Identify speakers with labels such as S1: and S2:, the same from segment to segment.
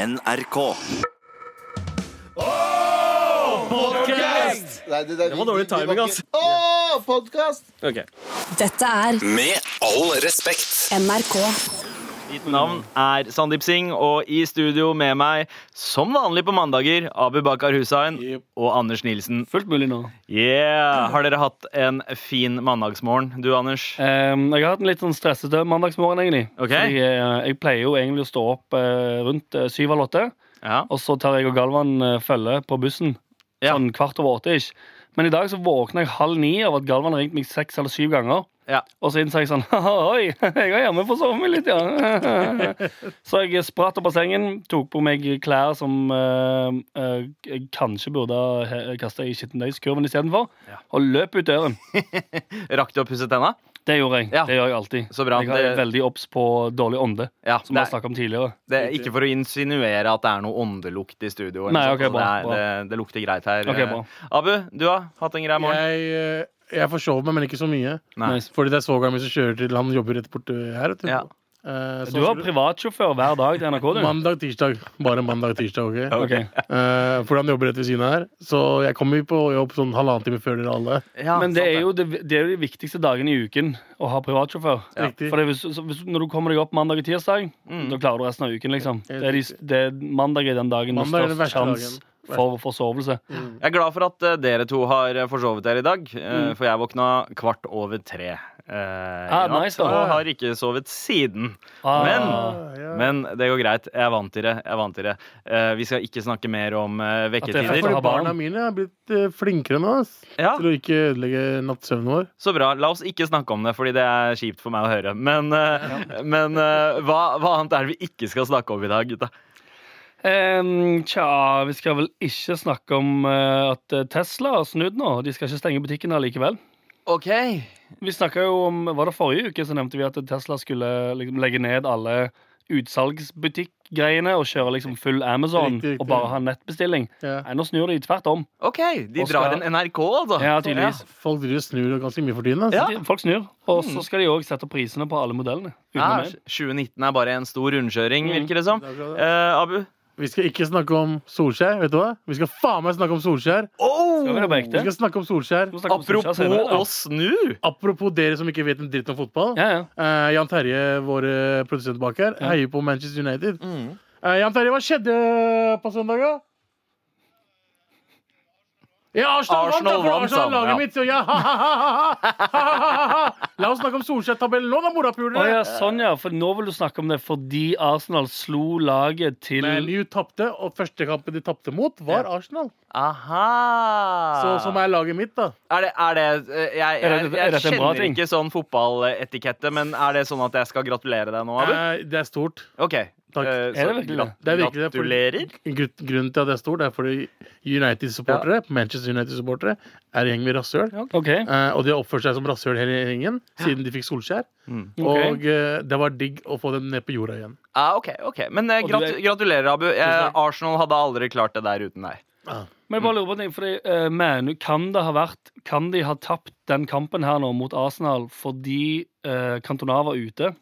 S1: NRK.
S2: Nei, det, det,
S3: var dårlig timing, ass.
S2: Å, podkast!
S3: Ok.
S4: Dette er
S1: Med all respekt.
S4: NRK.
S3: Mitt navn er Sandeep Singh, og i studio med meg, som vanlig på mandager, Abu Bakar Hussein og Anders Nilsen.
S5: Fullt mulig nå.
S3: Yeah! Har dere hatt en fin mandagsmorgen, du, Anders?
S5: Ehm, jeg har hatt en litt sånn stressete mandagsmorgen, egentlig.
S3: Ok.
S5: Fordi, eh, jeg pleier jo egentlig å stå opp eh, rundt eh, syv eller åtte,
S3: Ja.
S5: og så tar jeg og Galvan eh, følge på bussen.
S3: Ja.
S5: Sånn kvart over åtte, ikke. Men i dag så våkna jeg halv ni av at Galvan har ringt meg seks eller syv ganger.
S3: Ja.
S5: Og så innså jeg sånn Oi, jeg var hjemme for å sove meg litt, ja. så jeg spratt opp av sengen, tok på meg klær som eh, eh, jeg kanskje burde ha kasta i skittentøyskurven istedenfor,
S3: Ja.
S5: og løp ut døren.
S3: Rakk du å pusse tenna?
S5: Det gjorde jeg.
S3: Ja.
S5: Det gjør jeg alltid.
S3: Så bra.
S5: Jeg har
S3: Det-
S5: veldig obs på dårlig ånde,
S3: Ja.
S5: som vi har
S3: det,
S5: snakket om tidligere.
S3: er- det er ikke for å insinuere at det er noe åndelukt i studio. eller
S5: Nei,
S3: noe
S5: ok,
S3: sånt,
S5: bra,
S3: altså, det,
S5: bra.
S3: er- det, det lukter greit her.
S5: Ok, bra.
S3: Abu, du har hatt en grei morgen?
S6: Jeg, eh, jeg forsov meg, men ikke så mye.
S3: Nei.
S5: Nice.
S6: Fordi det er svogeren min som kjører til Han jobber rett borte her. vet du.
S3: Ja.
S6: Eh, så
S5: Du var
S6: skulle-
S5: privatsjåfør hver dag til NRK, du.
S6: Mandag, tirsdag. Bare mandag, tirsdag. ok?
S5: Ok.
S6: Eh, fordi han jobber rett ved siden av her. Så jeg kommer jo på jobb sånn halvannen time før dere alle.
S3: Ja,
S5: Men det
S3: sant
S5: er, jo, det, det er jo de viktigste dagene i uken å ha privatsjåfør.
S6: Ja. Riktig.
S5: For det, er hvis, så hvis, når du kommer deg opp mandag og tirsdag,
S3: Mm.
S5: da klarer du resten av uken. liksom
S6: Helt
S5: det er de, det, er- Mandag er den dagen med
S6: Mandag er den
S5: størst
S6: verste
S5: sjanse
S6: dagen.
S5: for forsovelse.
S3: Jeg er glad for at eh, dere to har eh, forsovet dere i dag, eh, for jeg våkna kvart over tre. eh, i
S5: Mm. Ah,
S3: natt,
S5: nice, da.
S3: og har ikke sovet siden.
S5: Ah,
S3: Men,
S6: ja.
S3: men det går greit. Jeg er vant til det. jeg er vant til det Eh, Vi skal ikke snakke mer om eh,
S5: det er
S3: vekketider.
S5: for-
S6: Fordi
S5: har barn.
S6: barna mine er blitt eh, flinkere nå ass,
S3: Ja,
S6: til å ikke ødelegge nattsøvnen vår.
S3: Så bra. La oss ikke snakke om det, fordi det er kjipt for meg å høre. Men, eh, men eh, hva, hva annet er det vi ikke skal snakke om i dag, gutta?
S5: em, tja, vi skal vel ikke snakke om eh, at Tesla har snudd nå. De skal ikke stenge butikken allikevel.
S3: OK.
S5: Vi snakket jo om, var det forrige uke så nevnte vi at Tesla skulle liksom legge ned alle utsalgsbutikkgreiene og kjøre liksom full Amazon
S6: Riktig, riktig.
S5: og bare ha nettbestilling.
S6: Ja.
S5: Nei, nå snur de tvert om.
S3: ok, De
S5: Og
S3: drar
S5: skal-
S3: en NRK, altså.
S5: Ja, tydeligvis.
S6: Folk driver og snur ganske mye for tiden. ass.
S3: Ja. Mm.
S5: De- Folk snur. Og så skal de òg sette prisene på alle modellene.
S3: Ja,
S5: utenom en.
S3: 2019 Ah, er bare en stor rundkjøring,
S5: Mm.
S3: virker det som.
S6: Det er akkurat det.
S3: Eh, Abu?
S6: Vi skal ikke snakke om Solskjær. vet du hva? Vi skal faen meg snakke om Solskjær!
S5: Skal vi det på ekte?
S6: Vi skal snakke om Solskjær.
S5: Skal vi snakke om Solskjær
S3: Apropos
S5: senere, da?
S3: å snu!
S6: Apropos dere som ikke vet en dritt om fotball.
S5: Ja, ja.
S6: Eh, Jan Terje, vår eh, produsent bak her, heier på Manchester United.
S3: Mm.
S6: Eh, Jan Terje, hva skjedde eh, på søndag, da? Ja, Arsenal, vant, da,
S3: Arsenal
S6: for
S3: vant,
S6: Arsenal er laget
S3: ja.
S6: mitt! så Ja, ha, ha, ha, ha, ha, ha, ha, ha. La oss snakke om Solskjær-tabellen nå, da, morapulere!
S5: Å ja, sånn ja. For nå vil du snakke om det fordi Arsenal slo laget til
S6: Men de tapte, og første kampen de tapte mot, var Arsenal.
S3: Aha! Ah.
S6: Så, som er laget mitt, da.
S3: Er det, er det eh, Jeg,
S5: Er
S3: jeg,
S5: dette- er
S3: jeg
S5: dette en bra
S3: kjenner
S5: ting?
S3: ikke sånn fotballetikette, men er det sånn at jeg skal gratulere deg nå, Abu?
S6: Eh, det er stort.
S3: OK.
S6: Takk.
S3: Eh,
S5: Er
S3: så
S5: det virkelig
S3: grat-
S6: det er virkelig det, fordi-
S3: gratulerer.
S6: Grut- Grunnen til at det er stort, er fordi United-supportere Manchester United-supportere er en gjeng med rasshøl.
S5: OK.
S6: Eh, og de har oppført seg som rasshøl hele gjengen siden de fikk Solskjær.
S3: Mm.
S5: Ok.
S6: Og eh, det var digg å få dem ned på jorda igjen.
S3: Ah, ok, ok. Men eh,
S5: Og du
S3: grat
S5: er-
S3: gratulerer, Abu. Eh,
S5: takk.
S3: Arsenal hadde aldri klart det der uten deg.
S5: Men jeg bare lurer på en ting, fordi eh, Manu, kan det ha vært Kan de ha tapt den kampen her nå mot Arsenal fordi uh, Cantona var ute?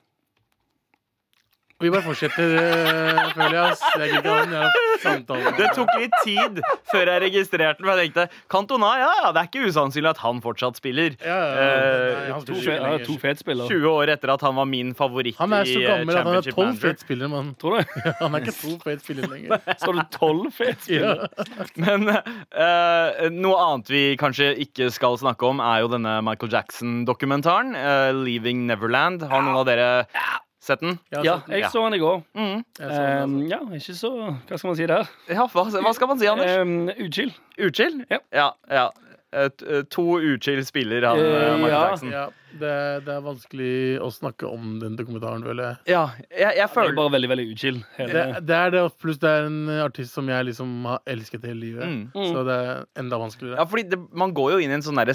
S6: Vi bare fortsetter, eh, føler jeg. ass. Jeg gidder ikke ha den jævla samtalen.
S3: Det tok litt tid før jeg registrerte den, for jeg tenkte Cantona, ja ja, det er ikke usannsynlig at han fortsatt spiller.
S6: Ja, ja, ja.
S3: Eh,
S6: Nei, han
S5: To,
S6: spiller
S5: fe-
S6: ikke
S5: ja, to
S6: lenger.
S5: fetspillere.
S3: 20 år etter at han var min favoritt
S6: Han er
S3: i
S6: så
S3: eh,
S6: gammel at han er
S3: Championship
S6: tolv
S3: Manager.
S6: fetspillere, mann.
S5: Tror du?
S6: Han er ikke to fetspillere lenger.
S5: Skal du tolv fetspillere?
S6: Ja.
S3: Men eh, noe annet vi kanskje ikke skal snakke om, er jo denne Michael Jackson-dokumentaren. eh, 'Leaving Neverland'. Har noen av dere sett den?
S5: Ja, jeg så den i går.
S3: Mm.
S6: Jeg så den, altså.
S5: Eh, ja, ikke så Hva skal man si der?
S3: Ja, hva, hva skal man si, Anders?
S5: Um, Utskill.
S3: Uchill?
S5: ja.
S3: Eh, ja. ja. Eh, t- eh, to uchill spiller han eh,
S5: Eh,
S3: Michael
S5: ja.
S3: Jackson.
S6: Ja, det, det er vanskelig å snakke om den dokumentaren, føler jeg.
S3: Ja, jeg, jeg
S5: Det er
S3: føler
S5: bare veldig, veldig utskill.
S6: Det,
S5: hele-
S6: det er det, pluss det er en artist som jeg liksom har elsket hele livet.
S3: Mm.
S6: Så det er enda vanskeligere.
S3: Ja, fordi det, Man går jo inn i en sånn der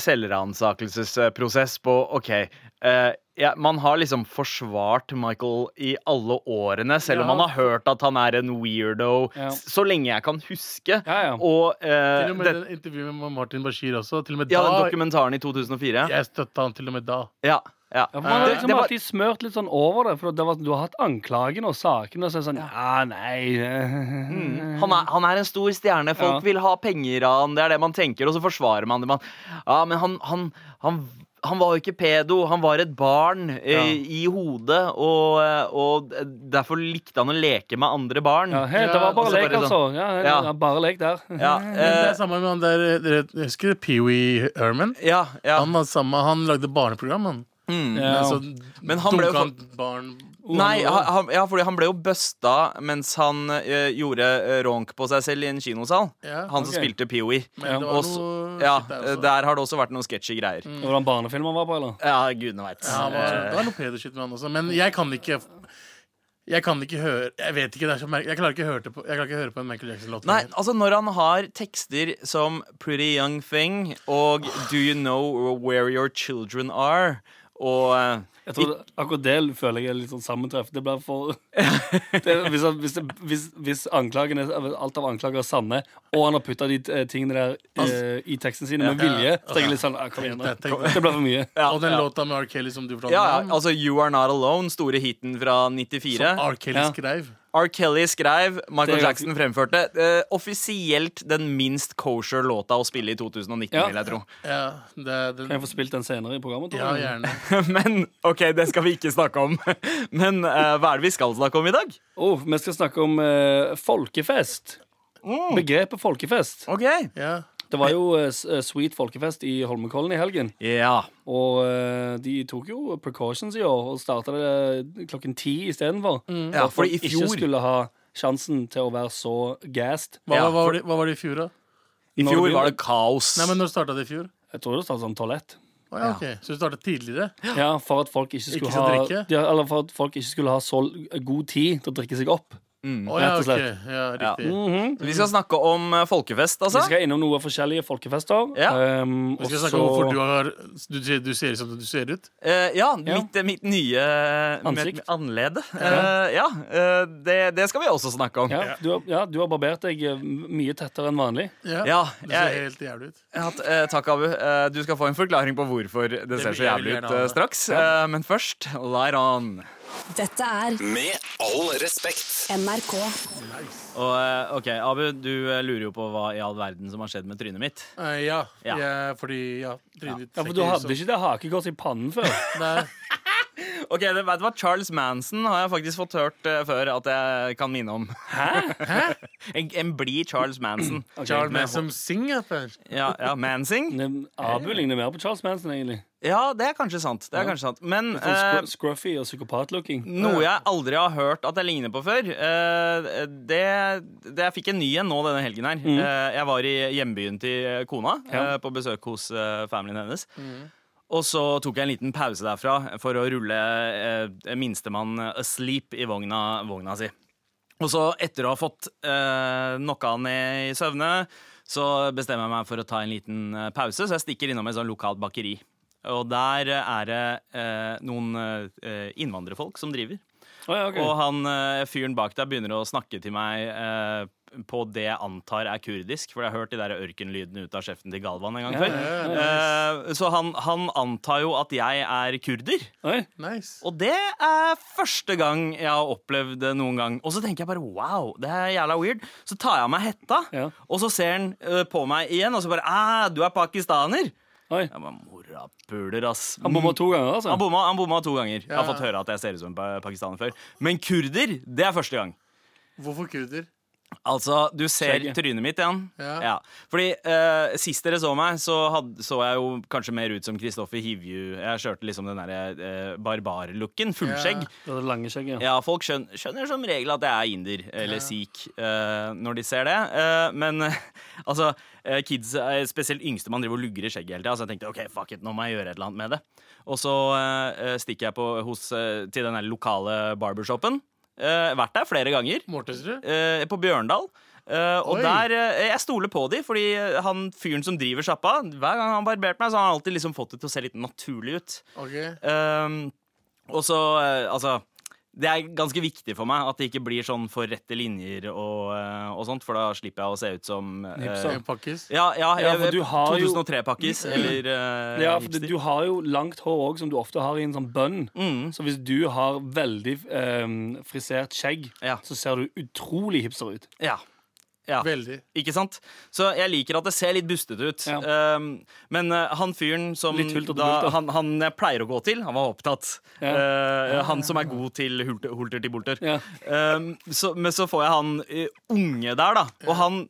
S3: selvransakelsesprosess på OK eh, ja, Man har liksom forsvart Michael i alle årene, selv om
S6: Ja.
S3: man har hørt at han er en weirdo
S5: Ja.
S3: s- så lenge jeg kan huske.
S5: Ja, ja.
S3: Og eh,
S6: Til og med
S3: det,
S6: det intervjuet med Martin Bashir også. Til og med
S3: ja, den
S6: da
S3: dokumentaren i 2004.
S6: Jeg støtta han til og med da.
S3: Ja, Ja.
S5: Ja, for man har
S3: Det-
S5: liksom
S3: det var-
S5: alltid smørt litt sånn over det, for det var, du har hatt anklagene og sakene, og så er det sånn Ja, nei
S6: Mm.
S3: Han er, han er en stor stjerne. Folk
S5: Ja.
S3: vil ha penger av han. Det er det man tenker, og så forsvarer man det. Man, ja, men han, han, han, han var jo ikke pedo. Han var et barn eh,
S5: Ja.
S3: i hodet, og, eh, og derfor likte han å leke med andre barn.
S5: Ja, hei, det
S6: Ja,
S5: var
S3: og
S5: bare
S3: så
S5: lek,
S3: bare
S5: altså. Ja, hei,
S3: Ja.
S5: ja, bare lek der.
S3: Ja,
S6: Men det er
S3: eh,
S6: samme med han der eh, dere Husker du Pee-wee Herman?
S3: ja, ja.
S6: Han, var samme, han lagde barneprogram, han.
S3: Mm.
S5: Ja.
S6: Men så
S3: Men han ble jo
S6: dunka han barn
S3: Nei, ha- han, ja, fordi han ble jo busta mens han eh, gjorde eh, ronk på seg selv i en kinosal.
S6: Ja,
S3: han som
S5: ok.
S3: spilte Pee-wee.
S6: Men det
S3: Og
S6: var
S3: så-
S6: noe
S3: Ja,
S6: shit der
S3: eh,
S6: også. Mm.
S3: der har det også vært noen sketchy greier.
S5: Hvordan barnefilmer var på, eller?
S3: Ja, gudene Eh, veit.
S6: Ja, han var, det var noe pedoshit med han også. Men jeg kan ikke Jeg kan ikke høre Jeg vet ikke, det er så merkelig. Jeg klarer ikke å høre det på, jeg klarer ikke å høre på en Michael Jackson-låt.
S3: Nei, altså når han har tekster som Pretty Young Thing og Do You Know Where Your Children Are og eh,
S5: Jeg tror det, Akkurat det føler jeg er litt sånn sammentreff. Det blir for det, Hvis, han- hvis, det- hvis, hvis anklagen er, alt av anklager er sanne, og han har putta de eh, tingene der
S6: Altså-
S5: eh, i teksten sine med vilje, så tenker jeg litt sånn ah, Kom igjen, da.
S6: Tenk det, tenk det.
S5: Det blir for mye.
S3: ja,
S6: Og den
S3: ja.
S6: låta med R. Kelly som du fortalte
S3: ja,
S6: meg
S3: ja,
S6: om,
S3: altså You Are Not Alone, store hiten fra
S6: som
S3: 94.
S6: R. Kelly
S5: Ja.
S6: skrev.
S3: R. Kelly skrev, Michael
S5: Det er ganske-
S3: Jackson fremførte. Eh, offisielt den minst kosher låta å spille i 2019,
S5: Ja.
S3: vil jeg tro.
S6: Ja, det, det,
S5: Kan jeg få spilt den senere i programmet? tror
S6: ja,
S5: jeg?
S6: gjerne.
S3: Men OK, det skal vi ikke snakke om. Men eh, hva er det vi skal snakke om i dag?
S5: Oh, vi skal snakke om eh, folkefest.
S6: Mm.
S5: Begrepet folkefest.
S3: OK.
S6: Ja.
S5: Det var jo eh, s- eh, Sweet folkefest i Holmenkollen i helgen.
S3: Ja.
S5: Og eh, de tok jo precautions i år og starta det klokken ti istedenfor. Mm.
S3: Ja, for i
S5: ikke
S3: fjor-
S5: skulle ha sjansen til å være så gassed.
S6: Hva,
S3: Ja,
S6: hva, var det, hva var det i fjor, da?
S3: I
S5: Når
S3: fjor
S5: det
S3: var
S5: begynner-
S3: det kaos.
S6: Nei, men Når starta det i fjor?
S5: Jeg tror det startet som toalett.
S6: Å, ja, ok. Så det starta tidligere?
S5: Ja, For at folk ikke skulle,
S6: Ikke skal
S5: ha,
S6: drikke?
S5: ja, eller for at folk ikke skulle ha så l- god tid til å drikke seg opp.
S6: Å ja,
S5: Rett og
S6: ok.
S5: slett. Mm,
S6: Ja, riktig.
S3: Vi skal snakke om eh, folkefest, altså.
S5: Vi skal innom noen forskjellige folkefester.
S3: Ja.
S5: ehm,
S6: Vi skal
S5: og
S6: snakke om
S5: så-
S6: hvorfor du, har, du, ser- du ser ut som du ser ut.
S3: Eh, ja,
S5: Ja.
S3: Mitt, mitt nye eh,
S5: Ansikt.
S3: mitt Anlede. Eh, ja, eh, det, det skal vi også snakke om.
S5: ja, du, har- ja, du har barbert deg eh, mye tettere enn vanlig.
S6: Ja,
S3: Ja,
S6: Du ser
S3: jeg,
S6: helt jævlig ut.
S3: ja, t- eh, takk, Abu. Eh, du skal få en forklaring på hvorfor det, ser så
S6: jeg vil
S3: jævlig
S6: gjerne
S3: ut
S6: ha
S3: eh,
S6: det.
S3: straks. Eh, men først, light on.
S4: Dette er
S1: Med all respekt.
S4: NRK.
S3: Og, eh, ok, Abu, du eh, lurer jo på hva i all verden som har skjedd med trynet mitt.
S6: Eh, ja,
S3: Ja.
S6: jeg- fordi ja, trynet ditt
S5: Ja,
S6: ser
S5: For du
S6: ut
S5: hadde
S6: som-
S5: ikke det hakekorset i pannen før.
S6: Nei.
S3: Ok, det, vet du hva? Charles Manson har jeg faktisk fått hørt eh, før at jeg kan minne om. en, en blid Charles Manson.
S6: Charles Manson synger først.
S3: Ja, ja, Mansing?
S5: Men Abu ligner mer på Charles Manson, egentlig.
S3: Ja, det er kanskje sant. Det er kanskje sant. Men
S5: Sånn
S3: eh,
S5: scru- scruffy og psykopat-looking.
S3: noe jeg aldri har hørt at jeg ligner på før, eh, det, det Jeg fikk en ny en nå denne helgen her. Eh, jeg var i hjembyen til kona
S5: Ja.
S3: eh, på besøk hos eh, familien hennes. Og så tok jeg en liten pause derfra for å rulle eh, minstemann asleep i vogna, vogna si. Og så etter å ha fått eh, knocka han ned i søvne, så bestemmer jeg meg for å ta en liten eh, pause, så jeg stikker innom et sånt lokalt bakeri. Og der eh, er det eh, noen eh, innvandrerfolk som driver.
S5: Å, ja, ok.
S3: Og han eh, fyren bak der begynner å snakke til meg eh, på det jeg antar er kurdisk, for jeg har hørt de der ørkenlydene ut av kjeften til Galvan en gang før. Eh, så han, han antar jo at jeg er kurder.
S5: Oi.
S6: Nice.
S3: Og det er første gang jeg har opplevd det noen gang. Og så tenker jeg bare wow, det er jævla weird. Så tar jeg av meg hetta,
S5: Ja.
S3: og så ser han eh, på meg igjen, og så bare æh, du er pakistaner.
S5: Oi.
S3: Jeg bare morapuler, ass.
S5: Han bomma to ganger, altså?
S3: Han bomma, han bomma to ganger. Jeg har fått høre at jeg ser ut som en pa- pakistaner før. Men kurder, det er første gang.
S6: Hvorfor kurder?
S3: Altså, du ser
S5: Skjegget.
S3: trynet mitt igjen. Ja.
S6: Ja.
S3: Fordi eh, sist dere så meg, så, hadde, så jeg jo kanskje mer ut som Kristoffer Hivju. Jeg kjørte liksom den derre uh, barbarlooken. Fullskjegg.
S6: Ja.
S5: Det er det lange skjegget.
S3: Ja, folk skjønner, skjønner som regel at jeg er inder eller sikh eh, når de ser det. Eh, men eh, altså, eh, kids, eh, spesielt yngstemann, driver og lugger i skjegget hele tida. Så jeg tenkte ok, fuck it, nå må jeg gjøre et eller annet med det. Og så eh, stikker jeg på, hos, eh, til den her lokale barbershopen. Eh, vært der flere ganger.
S6: Mortensrud?
S3: eh, på Bjørndal. Eh, og
S6: Oi.
S3: der, eh, Jeg stoler på de, fordi eh, han fyren som driver sjappa Hver gang han har barbert meg, så har han alltid liksom fått det til å se litt naturlig ut.
S6: Ok.
S3: Ehm, og så eh, Altså det er ganske viktig for meg at det ikke blir sånn for rette linjer og, eh, og sånt, for da slipper jeg å se ut som eh,
S5: Hipster.
S6: Pakkis.
S3: Ja, ja,
S5: Ja, for
S3: jeg-
S5: du har jo- Mm.
S3: 2003-pakkis eller eh,
S5: Ja, for
S3: hipster.
S5: du, du har jo langt hår òg, som du ofte har i en sånn bønn.
S3: Mm.
S5: Så hvis du har veldig eh, frisert skjegg,
S3: Ja.
S5: så ser du utrolig hipster ut.
S3: ja. Ja.
S6: Veldig.
S3: Ikke sant? Så jeg liker at det ser litt bustete ut.
S5: Ja.
S3: Um, men eh, han fyren som
S5: Litt hulter til bulter.
S3: da, han, han jeg pleier å gå til, han var opptatt.
S5: Ja.
S3: Eh, Han som er god til hulter, hulter til bolter.
S5: Ja.
S3: Um, så, men så får jeg han eh, unge der, da. Og han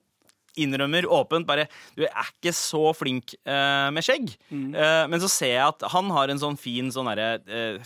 S3: innrømmer åpent bare Du jeg er ikke så flink eh, med skjegg.
S6: Mm.
S3: Eh, men så ser jeg at han har en sånn fin sånn derre eh,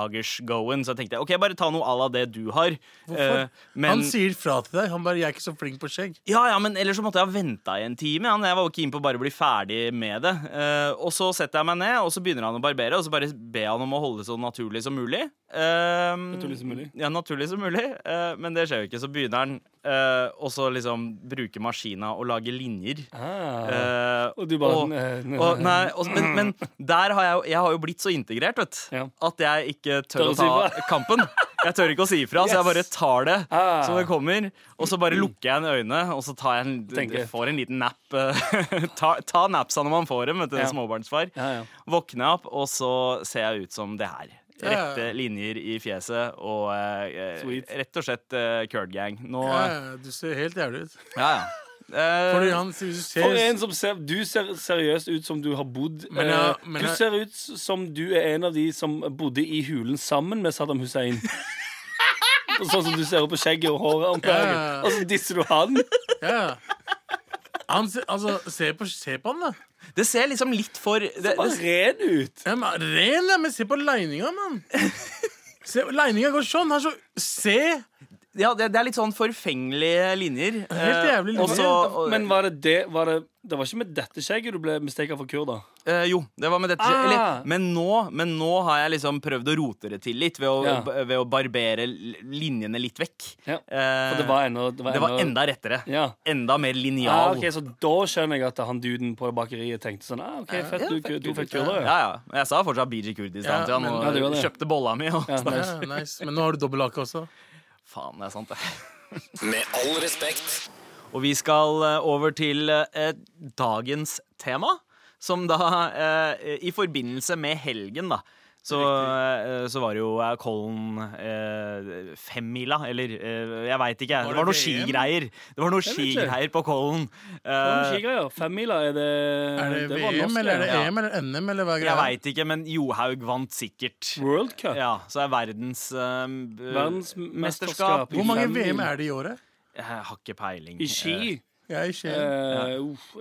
S3: femdagers-goen, så jeg tenkte OK, bare ta noe à la det du har.
S6: Hvorfor?
S3: Eh, men-
S6: Han sier fra til deg. Han bare 'jeg er ikke så flink på skjegg'.
S3: ja, ja, men ellers så måtte jeg ha venta i en time. Ja. Jeg var jo keen på å bare bli ferdig med det. Eh, og så setter jeg meg ned, og så begynner han å barbere, og så bare ber han om å holde det så naturlig som mulig. Eh,
S5: Naturlig som mulig?
S3: Ja, naturlig som mulig. Eh, men det skjer jo ikke. Så begynner han eh, og så liksom bruke maskina og lage linjer.
S5: Ah.
S3: Eh,
S5: og du bare
S3: og,
S5: sånn, eh,
S3: og, nei, og, men, men der har jeg, jo- jeg har jo blitt så integrert vet, du,
S5: Ja.
S3: at jeg ikke tør
S5: Tør
S3: å
S5: å si
S3: ta
S5: ifra.
S3: kampen. Jeg tør ikke å si ifra, så jeg bare
S5: Yes.
S3: tar det
S5: Ah.
S3: som det kommer. Og så bare lukker jeg en øyne, og så tar jeg en,
S5: Tenker.
S3: får en liten napp. eh, ta, ta napsa når man får dem, vet du,
S5: Ja.
S3: småbarnsfar.
S5: Ja, ja.
S3: Våkner jeg opp, og så ser jeg ut som det her.
S6: Ja, ja.
S3: Rette linjer i fjeset og eh,
S5: Sweet.
S3: rett og slett uh, curd gang. Nå,
S6: Ja,
S3: ja,
S6: ja, du ser helt jævlig ut.
S3: ja. Eh,
S6: Fordi han sier du ser
S5: For en som ser, Du ser seriøst ut som du har bodd
S6: Men jeg-
S5: eh,
S6: men
S5: Du
S6: jeg-
S5: ser ut som du er en av de som bodde i hulen sammen med Saddam Hussein. Og Sånn som du ser ut på skjegget og håret. om dagen.
S6: Ja.
S5: Og så disser du han.
S6: Ja. Han ser, altså, se på, se på han, da.
S3: det ser liksom litt for det,
S5: Bare
S3: det,
S5: ren ut.
S6: Ja, men, ren, ja, men se på leininga, mann. Se, leininga går sånn. Han er så, se!
S3: ja, det, det er litt sånn forfengelige linjer. Eh,
S6: Helt jævlig linjer.
S3: og så-
S5: Men var det det var det, det var ikke med dette skjegget du ble misteket for kurder?
S3: Eh, jo, det var med dette.
S5: Ah!
S3: Eller, men, nå, men nå har jeg liksom prøvd å rote det til litt ved å,
S5: Ja.
S3: b- ved å barbere l- linjene litt vekk.
S5: Ja.
S3: Eh,
S5: For det var ennå det var
S3: det var
S5: ennå-
S3: enda rettere.
S5: Ja.
S3: Enda mer linjal.
S5: Ah, ok, så da skjønner jeg at han duden på bakeriet tenkte sånn ah, OK, fett,
S3: Ja,
S5: du,
S3: fett,
S5: du fikk
S3: ja,
S5: kurder. ja.
S3: ja. Men Jeg sa fortsatt BJ Kurdistan
S6: Ja,
S3: til han
S6: men-
S3: og
S5: Ja, det var det.
S3: kjøpte bolla mi. Og,
S5: Ja, nice.
S6: Ja, nice. Men nå har du dobbelthake også.
S3: Faen, det er sant, det.
S1: Med all respekt.
S3: Og vi skal eh, over til eh, dagens tema, som da eh, i forbindelse med helgen, da. Så, eh, så var det jo eh, Kollen eh, femmila, eller eh, jeg veit ikke. jeg.
S6: Var
S3: Det var
S6: det
S3: noe
S6: VM?
S3: skigreier Det var noe
S5: vet ikke.
S3: skigreier på Kollen.
S5: Noen
S3: Eh,
S5: skigreier. Femmila, er det
S6: Er det,
S5: var
S6: VM,
S5: norsk,
S6: eller er det
S5: ja.
S6: EM, eller NM, eller hva er
S3: jeg
S6: greia?
S3: veit ikke, men Johaug vant sikkert.
S5: World Cup?
S3: Ja, så er verdens eh,
S5: Verdensmesterskap i
S6: Hvor mange
S5: femmil.
S6: VM er det i året?
S3: Jeg har ikke peiling.
S5: I ski?
S3: Eh,
S6: Jeg er ikke
S5: Eh, uff.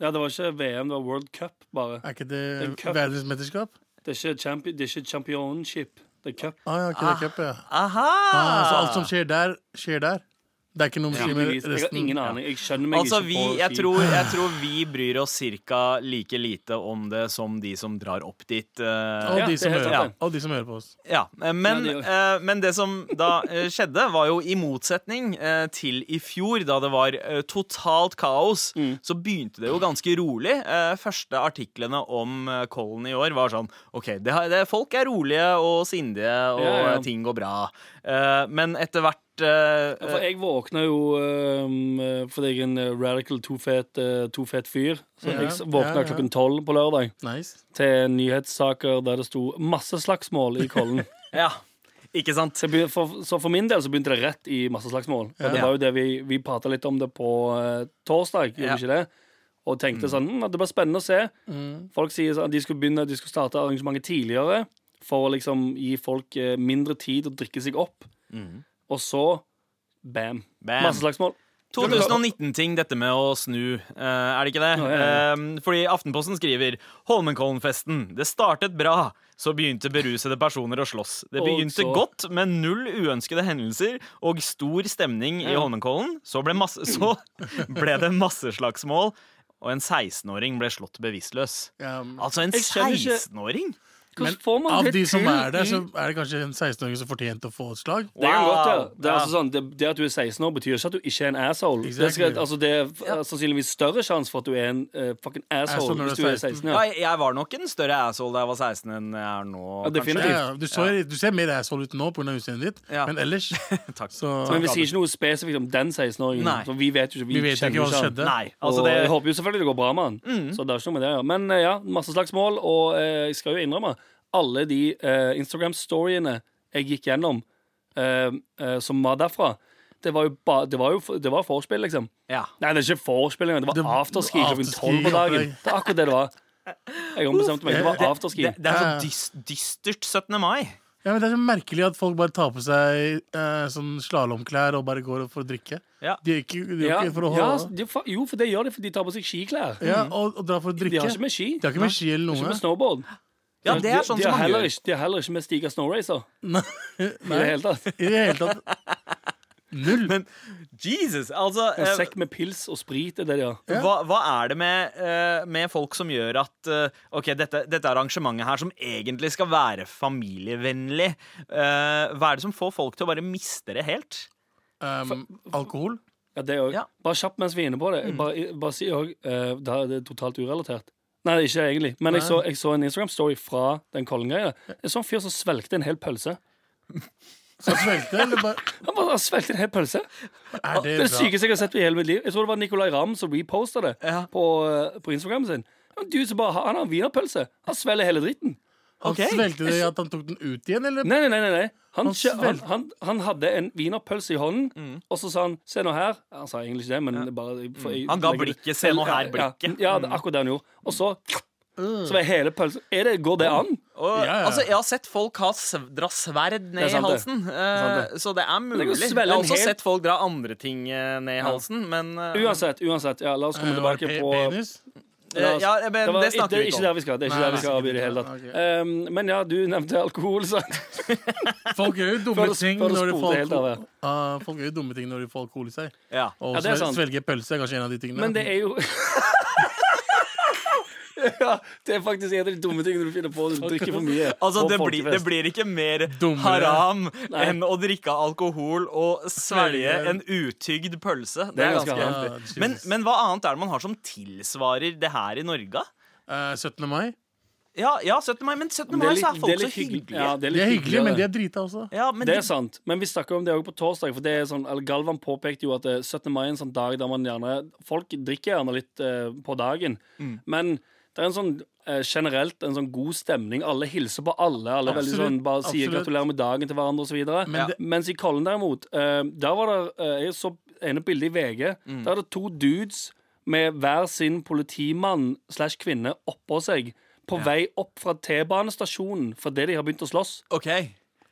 S5: ja, det var ikke VM, det var World Cup, bare.
S6: Er ikke det
S5: en cup.
S6: verdensmesterskap?
S5: Det er ikke, champi det er ikke championship. Det er cup.
S6: Ah, ja, ok, det er cup, ja.
S3: Eh, Aha!
S6: Ah, så alt som skjer der, skjer der? Det er ikke noe med
S5: Tydeligvis. Jeg har
S6: resten?
S5: ingen aning. Jeg skjønner meg
S3: Altså,
S5: ikke
S3: vi,
S5: på
S3: jeg,
S5: ski.
S3: tror, jeg tror vi bryr oss cirka like lite om det som de som drar opp dit. eh,
S6: Og
S5: Ja,
S6: de
S5: det er
S6: som
S5: helt
S6: hører,
S5: sant,
S6: og de som hører på oss.
S3: ja. eh, Men,
S5: Ja, det
S3: eh, men det som da eh, skjedde, var jo i motsetning eh, til i fjor, da det var eh, totalt kaos,
S5: Mm.
S3: så begynte det jo ganske rolig. Eh, Første artiklene om eh, Kollen i år var sånn OK, det, har- det, folk er rolige og sindige, og
S5: Ja, ja.
S3: eh, ting går bra. Eh, Men etter hvert eh,
S5: Ja, For jeg våkna jo um, eh, fordi jeg er en eh, radical tofet eh, tofet fyr. Så
S6: Ja,
S5: jeg s- våkna
S6: ja, ja.
S5: klokken tolv på lørdag
S6: Nice.
S5: til nyhetssaker der det sto masse slagsmål i Kollen.
S3: eh, Ja, ikke sant?
S5: Så, jeg begyn- for, så for min del så begynte det rett i masse slagsmål. Og det
S3: Ja.
S5: var jo det vi, vi prata litt om det på eh, torsdag, gjorde
S3: Ja.
S5: vi ikke det? Og tenkte sånn mm, at det blir spennende å se. Folk sier sånn at de skulle begynne De skulle starte arrangementet tidligere for å liksom gi folk eh, mindre tid å drikke seg opp. Og så bam.
S3: Bam.
S5: Masse slagsmål.
S3: 2019-ting, dette med å snu. eh, er det ikke det?
S5: Ja, ja, ja.
S3: Eh, fordi Aftenposten skriver Holmenkollen-festen. Det startet bra. Så begynte berusede personer å slåss. Det
S5: Og
S3: begynte
S5: så-
S3: godt med null uønskede hendelser og stor stemning i
S5: Ja.
S3: Holmenkollen. Så ble, masse, så ble det masseslagsmål, og en 16-åring ble slått bevisstløs.
S6: Ja,
S3: Altså en
S5: Jeg skjønner ikke-
S3: 16-åring?
S5: Hvordan
S6: Men
S5: får man
S6: av
S5: det
S6: de som
S5: til Mm.
S6: er der,
S5: i-
S6: så er det kanskje en 16-åring som fortjente å få et slag.
S5: Det kan godt være. Det, er
S3: Ja.
S5: altså sånn, det, det at du er 16 år, betyr ikke at du ikke er en asshole. Det,
S6: Exactly.
S5: skal, altså, det er f- sannsynligvis større sjanse for at du er en eh, fucking asshole
S6: Asshole når
S5: hvis
S6: du
S5: du
S6: er
S5: er 16. Ja.
S3: Nei, jeg var nok en større asshole da jeg var 16 enn jeg er nå.
S5: Ja,
S3: kanskje.
S5: definitivt.
S6: Ja, ja, du, ser, du ser mer asshole ut nå pga. utseendet ditt,
S3: Ja.
S6: men ellers
S3: Takk.
S6: så
S5: Men vi sier ikke noe spesifikt om den 16-åringen.
S3: Nei.
S5: For vi vet jo ikke, vi
S6: Vi vet jo
S5: kjenner
S6: ikke hva som
S5: han.
S6: skjedde.
S3: Nei, altså
S5: og
S3: det,
S5: jeg håper jo selvfølgelig det går bra med han.
S6: Mm.
S5: Så det er ikke noe med det, ja. Men eh, ja, masse slagsmål. Og eh, jeg skal jo innrømme alle de eh, Instagram-storyene jeg gikk gjennom eh, eh, som var derfra, det var jo, ba, det var jo for- det var forspill, liksom.
S3: ja.
S5: Nei, det er ikke vorspiel engang. Det
S6: Det-
S5: var afterski klokken
S6: afterski,
S5: tolv på dagen.
S6: opplegg.
S5: Det er akkurat det det var. Jeg ombestemte meg. Det var afterski.
S3: Det, det er så
S6: Ja.
S3: dys, dystert 17. mai.
S6: Ja, men Det er så merkelig at folk bare tar på seg eh, sånn slalåmklær og bare går for å drikke.
S3: Ja.
S6: De er ikke, de er
S5: Ja,
S6: ikke for å
S5: ja,
S6: holde
S5: de, fa- jo, for det gjør de, for de tar på seg skiklær.
S6: ja, og, og dra for å
S5: De
S6: drikke.
S5: har ikke med ski.
S6: De har ikke med ski eller
S5: Ikke
S6: noe.
S5: med snowboard.
S3: Ja, det er
S5: de,
S3: sånn
S5: de,
S3: som
S5: har
S3: man
S5: heller
S3: gjør.
S5: ikke, de har heller ikke med Stiga Snowracer.
S6: Nei,
S5: I det hele tatt.
S6: I det hele tatt. Null.
S3: Men Jesus, altså
S5: En
S3: eh,
S5: sekk med pils og sprit er det de har.
S3: hva, hva er det med, eh, med folk som gjør at eh, Ok, dette, dette arrangementet her som egentlig skal være familievennlig, eh, hva er det som får folk til å bare miste det helt?
S6: Um, alkohol?
S5: Ja, det òg.
S3: Ja.
S5: Bare kjapt mens vi er inne på det. Jeg Bare, bare si òg eh, Det er- det er totalt urelatert. Nei, det er ikke egentlig. Men jeg så, jeg så en Instagram-story fra den Kollen-greia. Jeg så en sånn fyr som svelgte en hel pølse.
S6: Så svelgte, eller bare
S5: Han bare svelgte en hel pølse.
S6: Er
S5: Det
S6: det
S5: er det
S6: bra?
S5: sykeste jeg har sett i hele mitt liv. Jeg tror det var Nicolay Ramm som reposta det
S3: Ja.
S5: på, eh, på Instagram sin. Det er en dude som bare har- Han har en wienerpølse. Han svelger hele dritten.
S6: Han
S3: Ok.
S6: svelgte det i at han tok den ut igjen, eller?
S5: Nei, nei, nei. nei, nei. Han,
S6: Han
S5: kjø- han,
S6: svelg-
S5: han, han hadde en wienerpølse i hånden,
S3: Mm.
S5: og så sa han 'se nå her'. Han sa egentlig ikke det, men det bare jeg- for, jeg,
S3: Han ga
S5: legger det-
S3: blikket, «Se nå her»,
S5: Ja,
S3: blikket. Mm.
S5: Ja, det er akkurat det han gjorde. Og så Så var hele pølsen er det, Går det an?
S3: Og,
S6: Ja, ja.
S3: Altså, Jeg har sett folk ha sv dra sverd ned
S5: Det
S3: i
S5: er sant, det.
S3: halsen, eh, så det er
S5: er
S3: mulig.
S5: jo å
S3: Jeg
S5: svelle
S3: har
S5: en
S3: også
S5: hel-
S3: sett folk dra andre ting eh, ned i halsen, men eh,
S5: Uansett, uansett. Ja, la oss
S3: Mm.
S5: komme
S6: Eh, var det
S5: tilbake
S6: pe-
S5: på
S6: penis?
S5: La oss-
S3: eh, Ja, men det
S5: var-
S3: snakker vi
S5: er
S3: ikke
S5: ikke
S3: om.
S5: der vi skal. Det er ikke
S6: Nei,
S5: der vi
S6: nei.
S5: skal av i det hele tatt.
S6: Ok.
S5: Um, men ja, du nevnte alkohol, sant?
S6: Folk gjør
S5: Før
S6: jo dumme
S5: du-
S6: ting
S5: før du
S6: når de
S5: spoler
S6: får
S5: helt av,
S6: alkohol. Ah, folk gjør jo dumme ting når de får alkohol i seg.
S3: ja.
S6: Og
S5: Ja, det er
S6: svel-
S5: sant.
S6: svelge pølse er kanskje en av de tingene.
S5: Men det er jo Ja, det er faktisk en av de dumme tingene du finner på når du drikker for mye.
S3: Altså,
S5: på
S3: det blir, det
S5: folkefest.
S3: blir ikke mer
S6: Dummere.
S3: haram
S5: Nei.
S3: enn å drikke alkohol og svelge
S6: Svelge.
S3: en utygd pølse. Det,
S5: Det er
S3: er
S5: ganske
S3: ganske
S5: haram.
S3: heftig.
S6: Ah,
S3: Men,
S6: Jesus.
S3: men hva annet er det man har som tilsvarer det her i Norge?
S6: Eh, 17. mai.
S3: Ja, ja 17. mai, men 17.
S5: Men
S3: mai
S5: litt-
S3: så er
S5: det
S3: folk så
S5: litt hygg-
S3: hyggelige.
S5: Ja,
S3: Ja,
S5: det er
S6: De
S5: litt
S6: er hyggelige, men de
S5: hyggeligere.
S6: er drita også.
S3: men
S5: det
S3: de,
S5: er sant, men vi snakker om det også på torsdag. For det er sånn, eller Galvan påpekte jo at eh, 17. mai er en sånn dag der man gjerne Folk drikker gjerne litt eh, på dagen,
S6: Mm.
S5: men det er en sånn eh, generelt en sånn god stemning. Alle hilser på alle. Alle veldig
S6: Absolutt,
S5: sånn, bare sier
S6: absolutt.
S5: gratulerer med dagen til hverandre osv.
S6: Men det-
S5: Mens i Kollen derimot, eh, der var det eh, Jeg så ene bildet i VG.
S6: Mm.
S5: Der er det to dudes med hver sin politimann slash kvinne oppå seg. På vei opp fra T-banestasjonen fordi de har begynt å slåss.
S3: OK.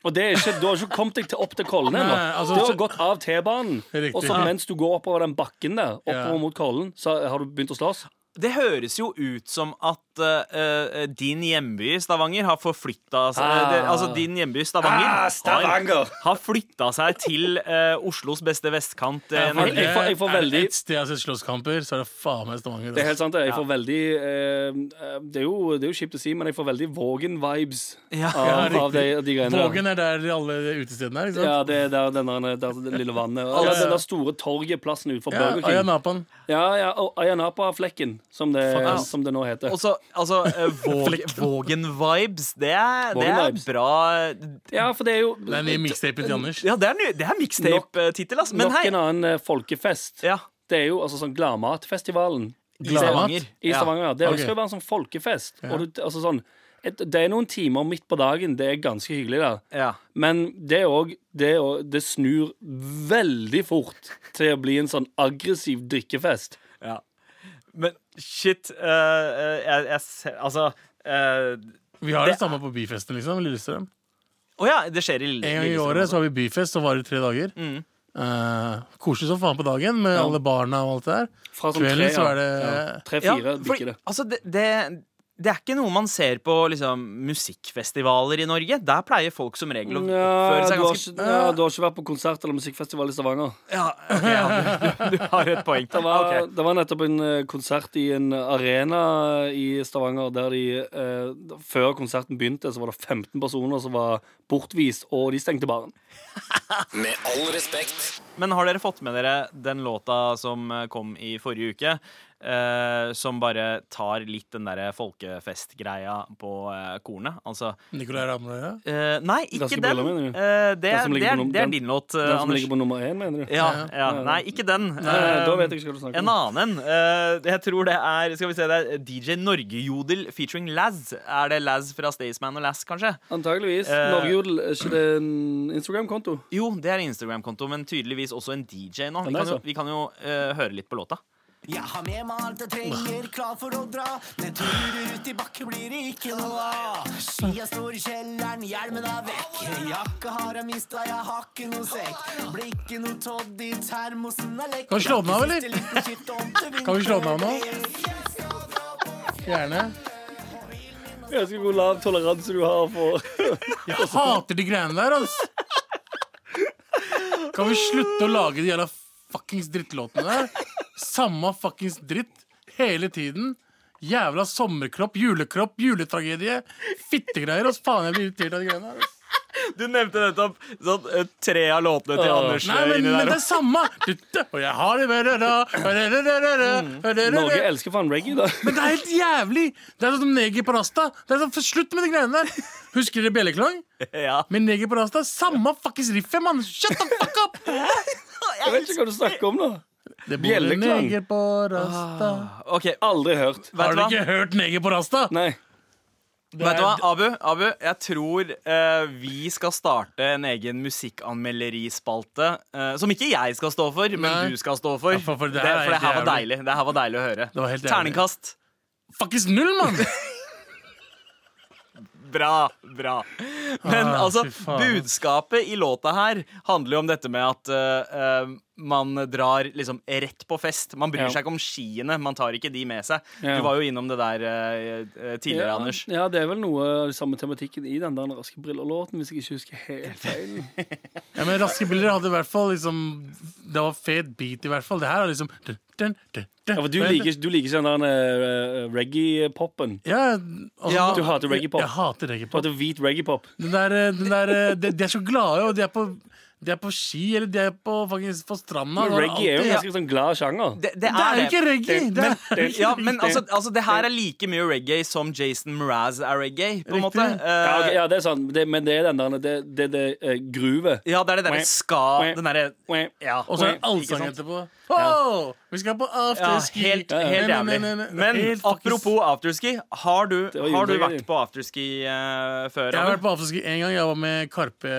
S5: Og det er ikke, Du har ikke kommet deg til, opp til Kollen ennå.
S6: Nei, altså,
S5: du har
S6: så-
S5: gått av T-banen,
S6: Riktig.
S5: og så
S6: Ja.
S5: mens du går oppover den bakken der, oppover
S6: Ja.
S5: mot Kollen, så har du begynt å slåss.
S3: Det høres jo ut som at eh, eh, din hjemby Stavanger har forflytta seg
S5: Ah.
S3: det, Altså, din hjemby Stavanger har, har flytta seg til eh, Oslos beste vestkant. eh, en
S5: for
S3: helg.
S5: jeg får- jeg får
S6: Er det
S5: veldig-
S6: Et sted jeg har sett slåsskamper, så er det faen meg Stavanger. altså.
S5: Det er helt
S6: ass.
S5: sant. det. Jeg får veldig eh, eh, det, er jo, det er jo kjipt å si, men jeg får veldig Vågen-vibes
S3: Ja.
S5: av, av de, de greiene der.
S6: Vågen er der alle de utestedene er, ikke sant?
S5: Ja, det er der, den der, der det lille vannet. Og
S6: Ja,
S5: ja,
S6: ja.
S5: den der store torgeplassen utenfor
S6: Ja,
S5: Burger
S6: Aya
S5: King.
S6: Napan.
S5: Ja, ja, og Ayanapa-flekken, som, det-
S6: Fuck, ass.
S5: som det nå heter.
S3: Og så, altså, eh, våg, Vågen-vibes, det er, det er
S5: Vågen-vibes.
S3: bra
S5: Ja, for det er jo
S6: Det er en ny mixtape til Anders.
S3: Ja, det er, ny- det er mixtape-tittel, ass. Men
S5: nok
S3: hei!
S5: en annen eh, folkefest.
S3: Ja,
S5: Det er jo altså sånn Gladmatfestivalen.
S3: I Stavanger.
S5: I Stavanger, ja. Det
S6: Ok.
S5: skal jo være en sånn folkefest. Og du, altså sånn, et, det er noen timer midt på dagen, det er ganske hyggelig der.
S3: Ja.
S5: Men det er òg det, er også- det snur veldig fort til å bli en sånn aggressiv drikkefest.
S3: ja. Men shit eh, eh, jeg, jeg ser Altså eh,
S6: Vi har det samme på byfesten, liksom. i Lillestrøm.
S3: Å ja, det skjer i Lille-
S6: En gang i
S3: Lillestrøm
S6: året
S3: også.
S6: så har vi byfest, så varer det tre dager.
S5: Mm.
S6: Eh, koselig som faen på dagen med alle barna og alt det der.
S5: Fra sånn
S6: Kvelden
S5: tre,
S6: så er
S5: ja.
S6: det
S5: Tre-fire
S3: Ja,
S5: bikker
S3: for,
S5: det.
S3: altså, det, det det er ikke noe man ser på liksom, musikkfestivaler i Norge. Der pleier folk som regel å
S5: Mm, Ja,
S3: oppføre
S5: du,
S3: seg
S5: har
S3: ganske
S5: ikke, ja, du har ikke vært på konsert eller musikkfestival i Stavanger?
S3: ja, ok, ja, du, du har et poeng.
S5: Det var,
S3: Ah, Ok.
S5: det var nettopp en eh, konsert i en arena i Stavanger der de eh, Før konserten begynte, så var det 15 personer som var bortvist, og de stengte baren.
S7: Med all respekt.
S3: Men har dere fått med dere den låta som eh, kom i forrige uke? Eh, som bare tar litt den derre folkefestgreia på eh, kornet? Altså
S6: Nicolay Ramløya?
S3: eh, Nei, ikke
S5: Raske
S3: den.
S5: briller, mener du?
S3: Eh, det,
S5: Den som ligger
S3: det,
S5: på
S3: er,
S5: num-
S3: det er
S5: den-
S3: din låt, eh,
S5: Den som
S3: Anders.
S5: ligger på nummer én, mener du?
S3: Ja, ja, nei, ikke den.
S5: Eh,
S3: Eh,
S5: Da vet jeg ikke hva du snakker
S3: En
S5: om.
S3: annen en. eh, jeg tror det er Skal vi se, det er DJ Norgejodel featuring Laz. Er det Laz fra Staysman og Laz, kanskje?
S5: Antageligvis.
S3: Eh,
S5: Norgejodel, er ikke det en Instagram-konto?
S3: Jo, det er en Instagram-konto, men tydeligvis også en DJ nå. Vi
S5: Ja, det
S3: kan
S5: er
S3: jo, vi kan jo eh, høre litt på låta.
S8: Jeg har med meg alt jeg trenger, klar for å dra. Men turer ut i bakken blir det ikke noe av. Skia står i kjelleren, hjelmen er vekk. Jakka har jeg mista, jeg har ikke noe sekk. Blir ikke noe toddy, termosen er lekk.
S6: Kan vi slå den av, eller? Kan vi slå den av nå? Gjerne.
S5: Ganske god lav toleranse du har for
S6: Jeg hater de greiene der, altså. Kan vi slutte å lage de jævla fuckings drittlåtene der? Samme fuckings dritt hele tiden. Jævla sommerkropp, julekropp, juletragedie. Fittegreier. ass. faen, jeg blir irritert av de greiene der. ass.
S3: Du nevnte nettopp sånn, eh, tre av låtene til Anders
S6: Nei,
S3: eh,
S6: men,
S3: inni
S6: men
S3: der.
S6: det er samme! Dutte, Og jeg har det bedre
S5: Mm. Norge
S6: Men
S5: elsker faen reggae, da.
S6: det er helt jævlig! Det er sånn som neger på rasta. Det er sånn, Slutt med de greiene der! Husker dere Bjelleklang?
S3: også. Ja.
S6: Med neger på rasta? Samme fuckings riffet, mann! Shut the fuck up!
S5: Jeg vet ikke hva du snakker om, da.
S6: Det bor en
S5: Bjelleklang.
S6: neger på rasta
S3: OK,
S5: Aldri hørt.
S3: vet
S6: Ah. Har
S3: du
S6: du
S3: hva?
S6: ikke hørt neger på rasta?
S5: Nei.
S3: Vet du hva, Abu, Abu jeg tror eh, vi skal starte en egen musikkanmelderi-spalte. eh, som ikke jeg skal stå for, men
S6: Nei.
S3: du skal stå for.
S6: for- for det her er
S3: for det
S6: helt
S3: her var
S6: jævlig.
S3: deilig. Det her var deilig å høre.
S6: var helt jævlig.
S3: Terningkast.
S6: Fuckings null, mann!
S3: Bra, bra. Men
S6: Ah,
S3: altså,
S6: fy faen.
S3: budskapet i låta her handler jo om dette med at eh, eh, man drar liksom rett på fest. Man bryr
S5: Ja.
S3: seg ikke om skiene, man tar ikke de med seg.
S5: Ja.
S3: Du var jo innom det der eh, eh, tidligere,
S5: ja,
S3: Anders.
S5: Ja, det er vel noe av den samme tematikken i den der Raske briller-låten, hvis jeg ikke husker helt feil.
S6: Ja, men Raske bilder hadde i hvert fall liksom Det var fet beat, i hvert fall. Det her er liksom
S5: Ja, for du liker, du liker ikke den der eh, reggae-popen.
S6: ja, altså,
S3: Ja,
S5: Du hater reggae-pop.
S6: Jeg hater reggae
S5: Du hater hvit reggae-pop.
S6: Den der, eh, den der, de, de er så glade, og de er på, de er på ski, eller de er på, faktisk, på stranda.
S5: Men
S6: Det er
S5: reggae er jo
S6: alltid-
S5: en ganske sånn glad sjanger.
S3: Det, det
S6: Det er jo
S3: er det.
S6: ikke reggae! Det er, jo ikke
S3: Ja,
S6: reggae.
S3: men altså, altså, det her er like mye reggae som Jason Mraz er reggae, på en
S6: Riktig.
S3: måte.
S5: Ja, ok,
S3: Eh,
S5: ja, det er sant, det, men det er den der Det er det, det eh, gruvet.
S3: ja, det er det derre ska Den derre ja.
S6: og så er det allsang
S3: Ikke sant?
S6: etterpå. Oh, vi skal på
S3: Ja,
S6: afterski!
S3: helt,
S5: Ja, ja.
S3: helt
S6: Nei, nei,
S3: jævlig.
S6: nei, nei, nei.
S3: Men
S6: Helt fuckings-
S3: apropos afterski, har du,
S5: var
S3: har du
S5: julegreier.
S3: vært på afterski eh, før?
S6: Jeg har
S3: Anne?
S6: vært på afterski én gang. Jeg var med Karpe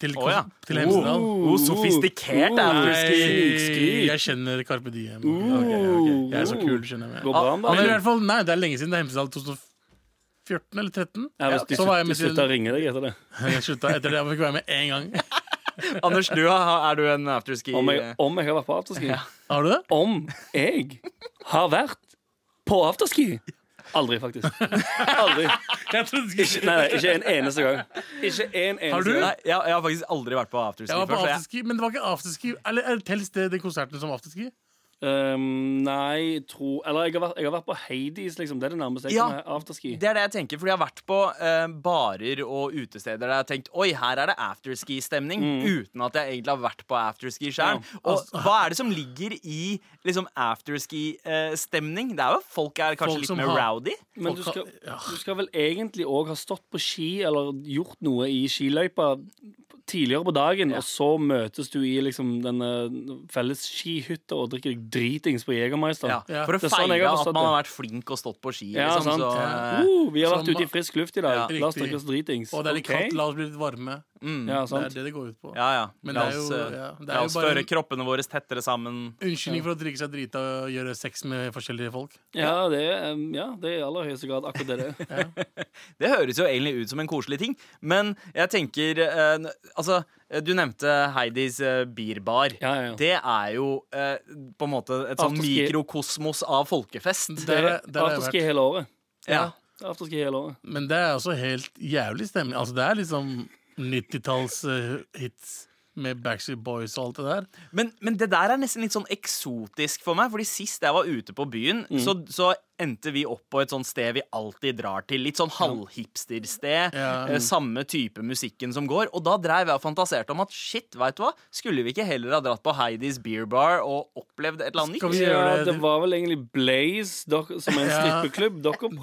S6: til,
S3: Å, ja.
S6: til Hemsedal.
S3: Oh, sofistikert det er afterski!
S5: Skrik.
S6: Nei, jeg kjenner Karpe Diem. Ok, ok, ok. Jeg er så kul, skjønner jeg.
S5: Går bra med
S6: Men i
S5: deg.
S6: hvert fall, nei, det er lenge siden. Det er Hemsedal 2014 eller 2013.
S5: Ja, hvis de
S6: så var jeg
S5: slutter-
S6: med til-
S5: slutter å ringe deg etter det.
S6: Jeg slutta etter det. Jeg fikk være med én gang.
S3: Anders, du, har- er du en afterski
S5: Om jeg,
S3: eh,
S5: om jeg har vært på afterski.
S6: Har du det?
S5: Om jeg har vært på afterski? Aldri, faktisk. Aldri.
S6: Jeg trodde du
S5: Ikke, nei, nei, ikke en eneste gang. Ikke en eneste
S6: Har du?
S5: gang.
S3: Nei, jeg, jeg har faktisk aldri vært på afterski
S6: Jeg var på
S3: før. så jeg-
S6: afterski, men det var ikke afterski. Eller er det telles det de konsertene som afterski?
S5: Um, nei, tro Eller jeg har, vært, jeg har vært på Hades, liksom. Det er det nærmeste jeg
S3: Ja.
S5: kommer afterski.
S3: Det er det jeg tenker, fordi jeg har vært på eh, barer og utesteder der jeg har tenkt Oi, her er det afterski-stemning,
S5: Mm.
S3: uten at jeg egentlig har vært på afterski sjøl. Og
S6: Altså-
S3: hva er det som ligger i liksom afterski-stemning? det er jo folk er kanskje
S6: Folk
S3: litt
S6: som
S3: mer
S6: har-
S3: rowdy.
S5: Men du
S6: Folk
S5: skal,
S6: har- ja.
S5: du skal vel egentlig òg ha stått på ski eller gjort noe i skiløypa tidligere på dagen, og så møtes du i liksom denne felles skihytta og drikker deg dritings på Jegermeister.
S3: Ja,
S6: Ja.
S3: for å
S5: Det er sånn jeg
S3: feire
S5: har
S3: at
S5: forstått
S3: man har
S5: det.
S3: vært flink og stått på ski.
S5: Ja,
S3: liksom,
S5: sant.
S3: så,
S6: Ja.
S3: eh,
S5: Uh, vi har
S6: Som-
S5: vært ute i frisk luft i dag.
S6: Ja.
S5: La oss
S6: Riktig.
S5: drikke oss dritings.
S6: Og det er litt
S5: Ok.
S6: kaldt, la oss bli litt varme.
S5: Ja,
S6: Det er
S5: sant.
S6: det det går ut på.
S3: ja, ja.
S6: Men
S3: la
S6: det er
S3: oss,
S6: jo-
S3: eh,
S6: ja, det er
S3: la
S6: jo
S3: oss
S6: bare
S3: føre
S6: en-
S3: kroppene våre tettere sammen.
S6: Unnskyldning for å drikke seg drita og gjøre sex med forskjellige folk.
S5: Ja, det er, um, ja, det er i aller høyeste grad akkurat det det er.
S3: Det høres jo egentlig ut som en koselig ting, men jeg tenker eh, n- Altså, eh, du nevnte Heidis eh, bierbar.
S5: Ja, ja, ja.
S3: Det er jo eh, på en måte et sånn
S5: Afterski.
S3: mikrokosmos av folkefest.
S6: Der, er- der har jeg
S5: Afterski
S6: vært.
S5: hele året.
S3: Ja.
S4: Det er Afterski hele året.
S6: Men det er også helt jævlig stemning. Altså, det er liksom 90-talls eh, hits med Backstreet Boys og alt det der.
S3: Men, men det der er nesten litt sånn eksotisk for meg, Fordi sist jeg var ute på byen,
S4: Mm.
S3: så, så endte vi opp på et sånt sted vi alltid drar til. Litt sånn halvhipstersted.
S6: Ja.
S3: eh, Samme type musikken som går. Og da dreiv jeg og fantaserte om at shit, veit du hva, skulle vi ikke heller ha dratt på Heidis Beer Bar og opplevd et eller annet
S6: Skal
S3: nytt?
S6: vi
S4: Ja,
S6: gjøre
S4: det var vel egentlig Blaze dere, som er en
S6: Ja.
S4: strippeklubb. Dere prøvde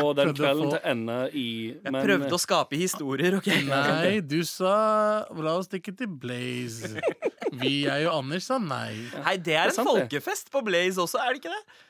S4: å få den
S6: prøvde å
S4: kvelden
S6: få-
S4: til å ende i
S3: Jeg
S4: eh,
S3: prøvde å skape historier, OK?
S6: Nei, du sa la oss stikke til Blaze. Vi, jeg og Anders sa nei.
S3: Hei,
S4: Det
S3: det er
S4: er
S3: en
S4: sant, det.
S3: folkefest på Blaze også, er det ikke det?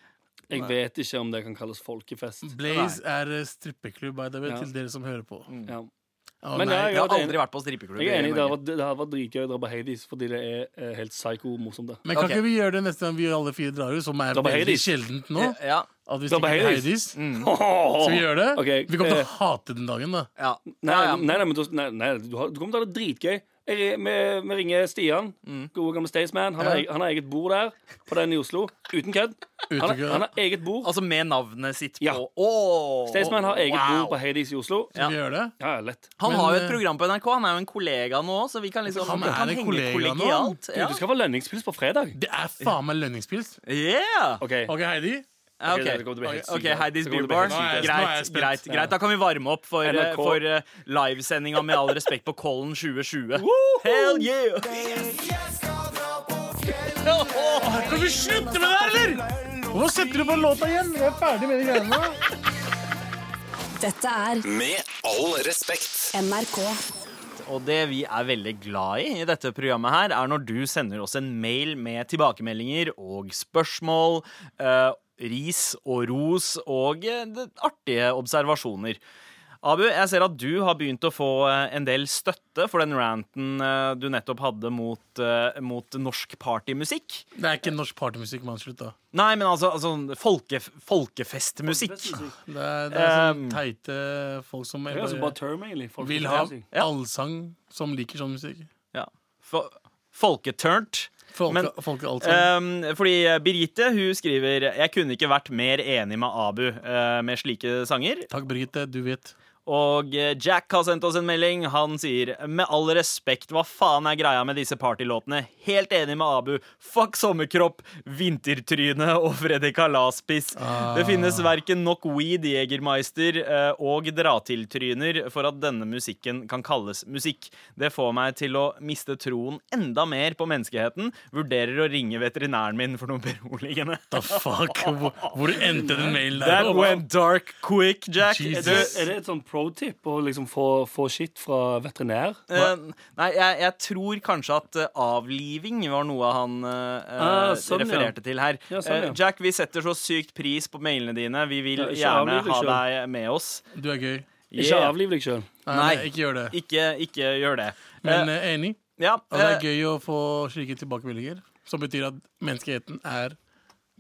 S4: Jeg vet ikke om det kan kalles folkefest.
S6: Blaze er eh, strippeklubb, by the way,
S4: Ja.
S6: til dere som hører på.
S4: Ja.
S6: Å,
S4: Men
S6: nei.
S4: jeg-
S3: Jeg har
S4: det er-
S3: aldri vært på strippeklubb.
S4: Jeg
S3: i
S4: er enig, Det
S3: Norge.
S4: hadde vært- det hadde vært dritgøy å dra på Hades fordi det er eh, helt psyko-morsomt. det.
S6: Men kan
S3: Ok.
S6: ikke vi gjøre det neste gang vi alle fire drar ut, som er
S4: Da på
S6: veldig
S4: Hades.
S6: sjeldent nå?
S3: Ja,
S6: At vi
S4: Da på
S6: stikker til
S4: Hades. Mm.
S6: Heidis? Skal vi gjøre det?
S4: Ok,
S6: Vi kommer til
S4: eh,
S6: å hate den dagen, da.
S3: ja.
S4: Nei,
S3: ja, ja.
S4: nei, nei, men du, nei, nei du, har, du kommer til å ha det dritgøy. Jeg, ri- vi, vi ringer Stian, gode gamle Staysman. Han, har
S6: Ja.
S4: e- han har eget bord der, på den i Oslo. Uten kødd.
S6: Uten
S4: Han, har-
S6: kødd.
S4: han har eget bord.
S3: Altså med navnet sitt på
S4: Ja.
S3: Åh,
S4: Staysman har eget
S3: wow.
S4: bord på Hades i Oslo.
S6: Skal vi gjøre det?
S4: Ja, ja, lett.
S3: Han
S6: Men,
S3: har jo et
S6: eh,
S3: program på NRK. Han er jo en kollega nå òg, så vi kan liksom
S6: Han
S3: vi
S6: er
S3: kan
S6: en
S3: henge
S6: kollega nå.
S3: kollegialt.
S4: Du,
S3: Ja.
S4: du skal få lønningspils på fredag.
S6: Det er faen meg lønningspils.
S3: Yeah!
S4: OK.
S6: OK, Heidi?
S3: Ja,
S4: Ok, det
S3: OK.
S4: kommer til å bli helt
S3: Ok,
S4: sykt.
S3: Heidis
S4: Det kommer
S3: Beer
S4: til å
S3: Bar.
S4: bli helt sykt.
S6: Nå er jeg- nå er jeg
S3: Greit,
S6: spent.
S3: greit, greit. Da kan vi varme opp for, eh,
S4: NRK.
S3: for eh, livesendinga Med all respekt på Kollen 2020. Hell yeah!
S6: Kan vi slutte med det her, eller? Hvorfor setter du på låta igjen? Vi er ferdig med de greiene.
S9: Dette er
S1: Med all respekt.
S9: NRK.
S3: Og det vi er veldig glad i i dette programmet her, er når du sender oss en mail med tilbakemeldinger og spørsmål, eh, ris og ros og eh, det- artige observasjoner. Abu, jeg ser at du har begynt å få eh, en del støtte for den ranten eh, du nettopp hadde mot, eh, mot norsk partymusikk.
S6: Det er ikke norsk partymusikk, mann. Slutt, da.
S3: Nei, men altså, altså folke, folkefestmusikk.
S6: Det er, det er sånn
S3: Um,
S6: teite folk som
S4: Det er altså bare
S6: bare
S4: term, egentlig. Folk
S6: vil ha allsang, som liker sånn musikk.
S3: Ja. Fo- Folketurnt. Men-
S6: Folke, folkeallsang.
S3: Um, fordi Birgitte hun skriver Jeg kunne ikke vært mer enig med Abu eh, med slike sanger.
S6: Takk, Birgitte. Du vet.
S3: Og eh, Jack har sendt oss en melding. Han sier med all respekt, hva faen er greia med disse partylåtene? Helt enig med Abu. Fuck sommerkropp, vintertryne og Freddy Kalas-piss. Det finnes verken nok weed, Jegermeister eh, og dra-til-tryner for at denne musikken kan kalles musikk. Det får meg til å miste troen enda mer på menneskeheten. Vurderer å ringe veterinæren min for noe beroligende.
S6: The fuck? Hvor, hvor endte den mailen der?
S3: That went dark quick, Jack.
S4: Er
S6: Jesus.
S4: det, er det et sånn pro tip å liksom få, få shit fra veterinær?
S3: Eh, nei, jeg, jeg tror kanskje at eh, avliving var noe han eh,
S4: Ah, sånn, ja.
S3: refererte til her.
S4: Ja, sånn, ja.
S3: Eh, Jack, vi setter så sykt pris på mailene dine. Vi vil
S4: Ja, ikke
S3: gjerne
S4: avliv deg
S3: ha
S4: selv.
S3: deg med oss.
S6: Du er gøy.
S4: Ikke
S3: Yeah.
S4: avliv deg sjøl.
S6: Nei,
S3: Nei.
S6: nei, ikke gjør det.
S3: Ikke, ikke gjør det.
S6: Men eh, enig.
S3: Ja,
S6: Og det
S3: eh,
S6: er gøy å få slike tilbakemeldinger, som betyr at menneskeheten er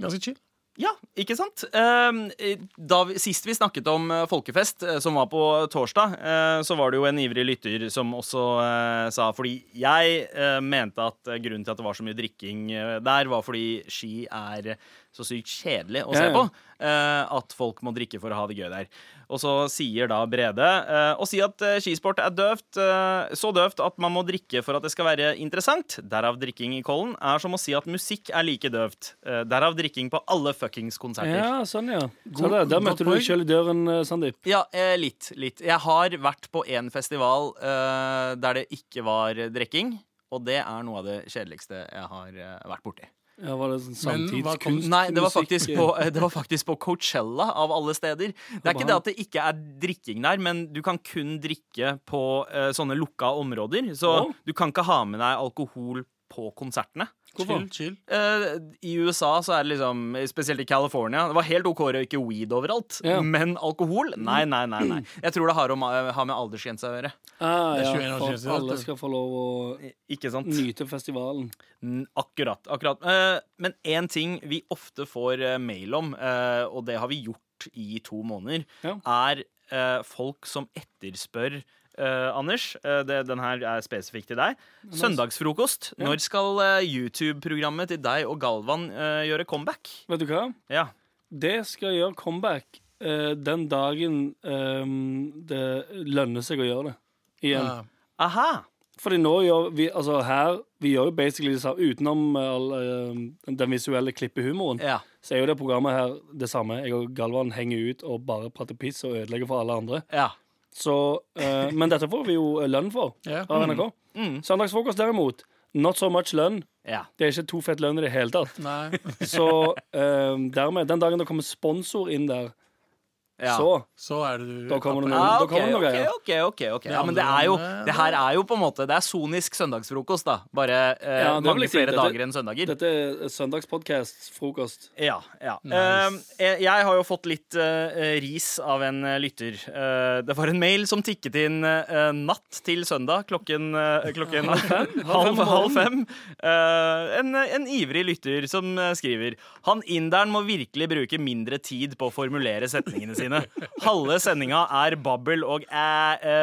S6: ganske chill.
S3: Ja, ikke sant? Ehm, eh, Da vi, sist vi snakket om eh, folkefest, eh, som var på torsdag, eh, så var det jo en ivrig lytter som også eh, sa Fordi jeg eh, mente at eh, grunnen til at det var så mye drikking eh, der, var fordi ski er eh, så sykt kjedelig å se
S4: Ja, ja.
S3: på. eh, At folk må drikke for å ha det gøy der. Og så sier da Brede eh, Å si at eh, skisport er døvt, eh, så døvt at man må drikke for at det skal være interessant, derav drikking i Kollen, er som å si at musikk er like døvt. eh, Derav drikking på alle fuckings konserter.
S4: Ja, sånn, ja. Så der, der møtte du
S6: godt poeng.
S4: deg sjøl i døren, eh, Sandeep.
S3: Ja, eh, litt. litt. Jeg har vært på én festival eh, der det ikke var drikking. Og det er noe av det kjedeligste jeg har eh, vært borti.
S4: Ja, var det sånn
S6: Men hva kom-
S4: samtidskunst?
S3: Nei, det var,
S4: musikk?
S3: faktisk på, eh, det var faktisk på Coachella, av alle steder. Det er ikke det at det ikke er drikking der, men du kan kun drikke på eh, sånne lukka områder. Så
S4: Å.
S3: du kan ikke ha med deg alkohol på konsertene.
S6: Chill, chill.
S3: Eh, I USA så er det liksom Spesielt i California. Det var helt OK å røyke weed overalt,
S4: Ja.
S3: men alkohol? Nei, nei, nei. nei Jeg tror det har å ma- ha med aldersgrense å gjøre.
S4: Ah,
S6: Det er
S4: ja,
S6: 21
S4: for
S6: år
S4: at
S6: siden, så
S4: alle
S6: alt-
S4: skal få lov å
S3: Ikke sant?
S4: nyte festivalen.
S3: N- Mm, Akkurat. akkurat. Eh, Men én ting vi ofte får eh, mail om, eh, og det har vi gjort i to måneder,
S4: Ja.
S3: er eh, folk som etterspør eh, Anders, eh, det, den her er spesifikk til deg. Søndagsfrokost. Når skal eh, YouTube-programmet til deg og Galvan eh, gjøre comeback?
S4: Vet du hva?
S3: Ja.
S4: Det skal gjøre comeback
S5: eh, den dagen eh, det lønner seg å gjøre det igjen.
S6: Ja.
S3: Aha!
S5: Fordi nå gjør vi altså her Vi gjør jo basically det samme utenom eh, all, eh, den visuelle klippehumoren.
S3: Ja.
S5: Så er jo det programmet her det samme. Jeg og Galvan henger ut og bare prater piss og ødelegger for alle andre.
S3: ja.
S5: Så, eh, men dette får vi jo eh, lønn for
S6: Ja.
S5: av NRK.
S3: Mm.
S5: Søndagsfrokost derimot, not so much lønn.
S3: ja.
S5: Det er ikke to fett lønn i det hele tatt.
S6: Nei.
S5: Så eh, dermed, den dagen det kommer sponsor inn der,
S3: ja.
S5: så
S6: Så er det du
S5: Da kommer det noe.
S3: Ah,
S5: da
S3: ok,
S5: kommer det noe
S3: ok,
S5: greier.
S3: ok, ok, ok. Ja, men det er jo Det her er jo på en måte Det er sonisk søndagsfrokost, da. Bare eh,
S5: Ja, det vil
S3: mange
S5: jeg si.
S3: flere
S5: Dette-
S3: dager enn søndager.
S5: Dette er eh, søndagspodkast, frokost.
S3: Ja, ja. Eh, jeg- jeg har jo fått litt eh, ris av en eh, lytter. Eh, det var en mail som tikket inn eh, natt til søndag klokken, eh, klokken halv, halv fem. Eh, en, en ivrig lytter som eh, skriver Han inderen må virkelig bruke mindre tid på å formulere setningene sine. Halve sendinga er babbel og æ,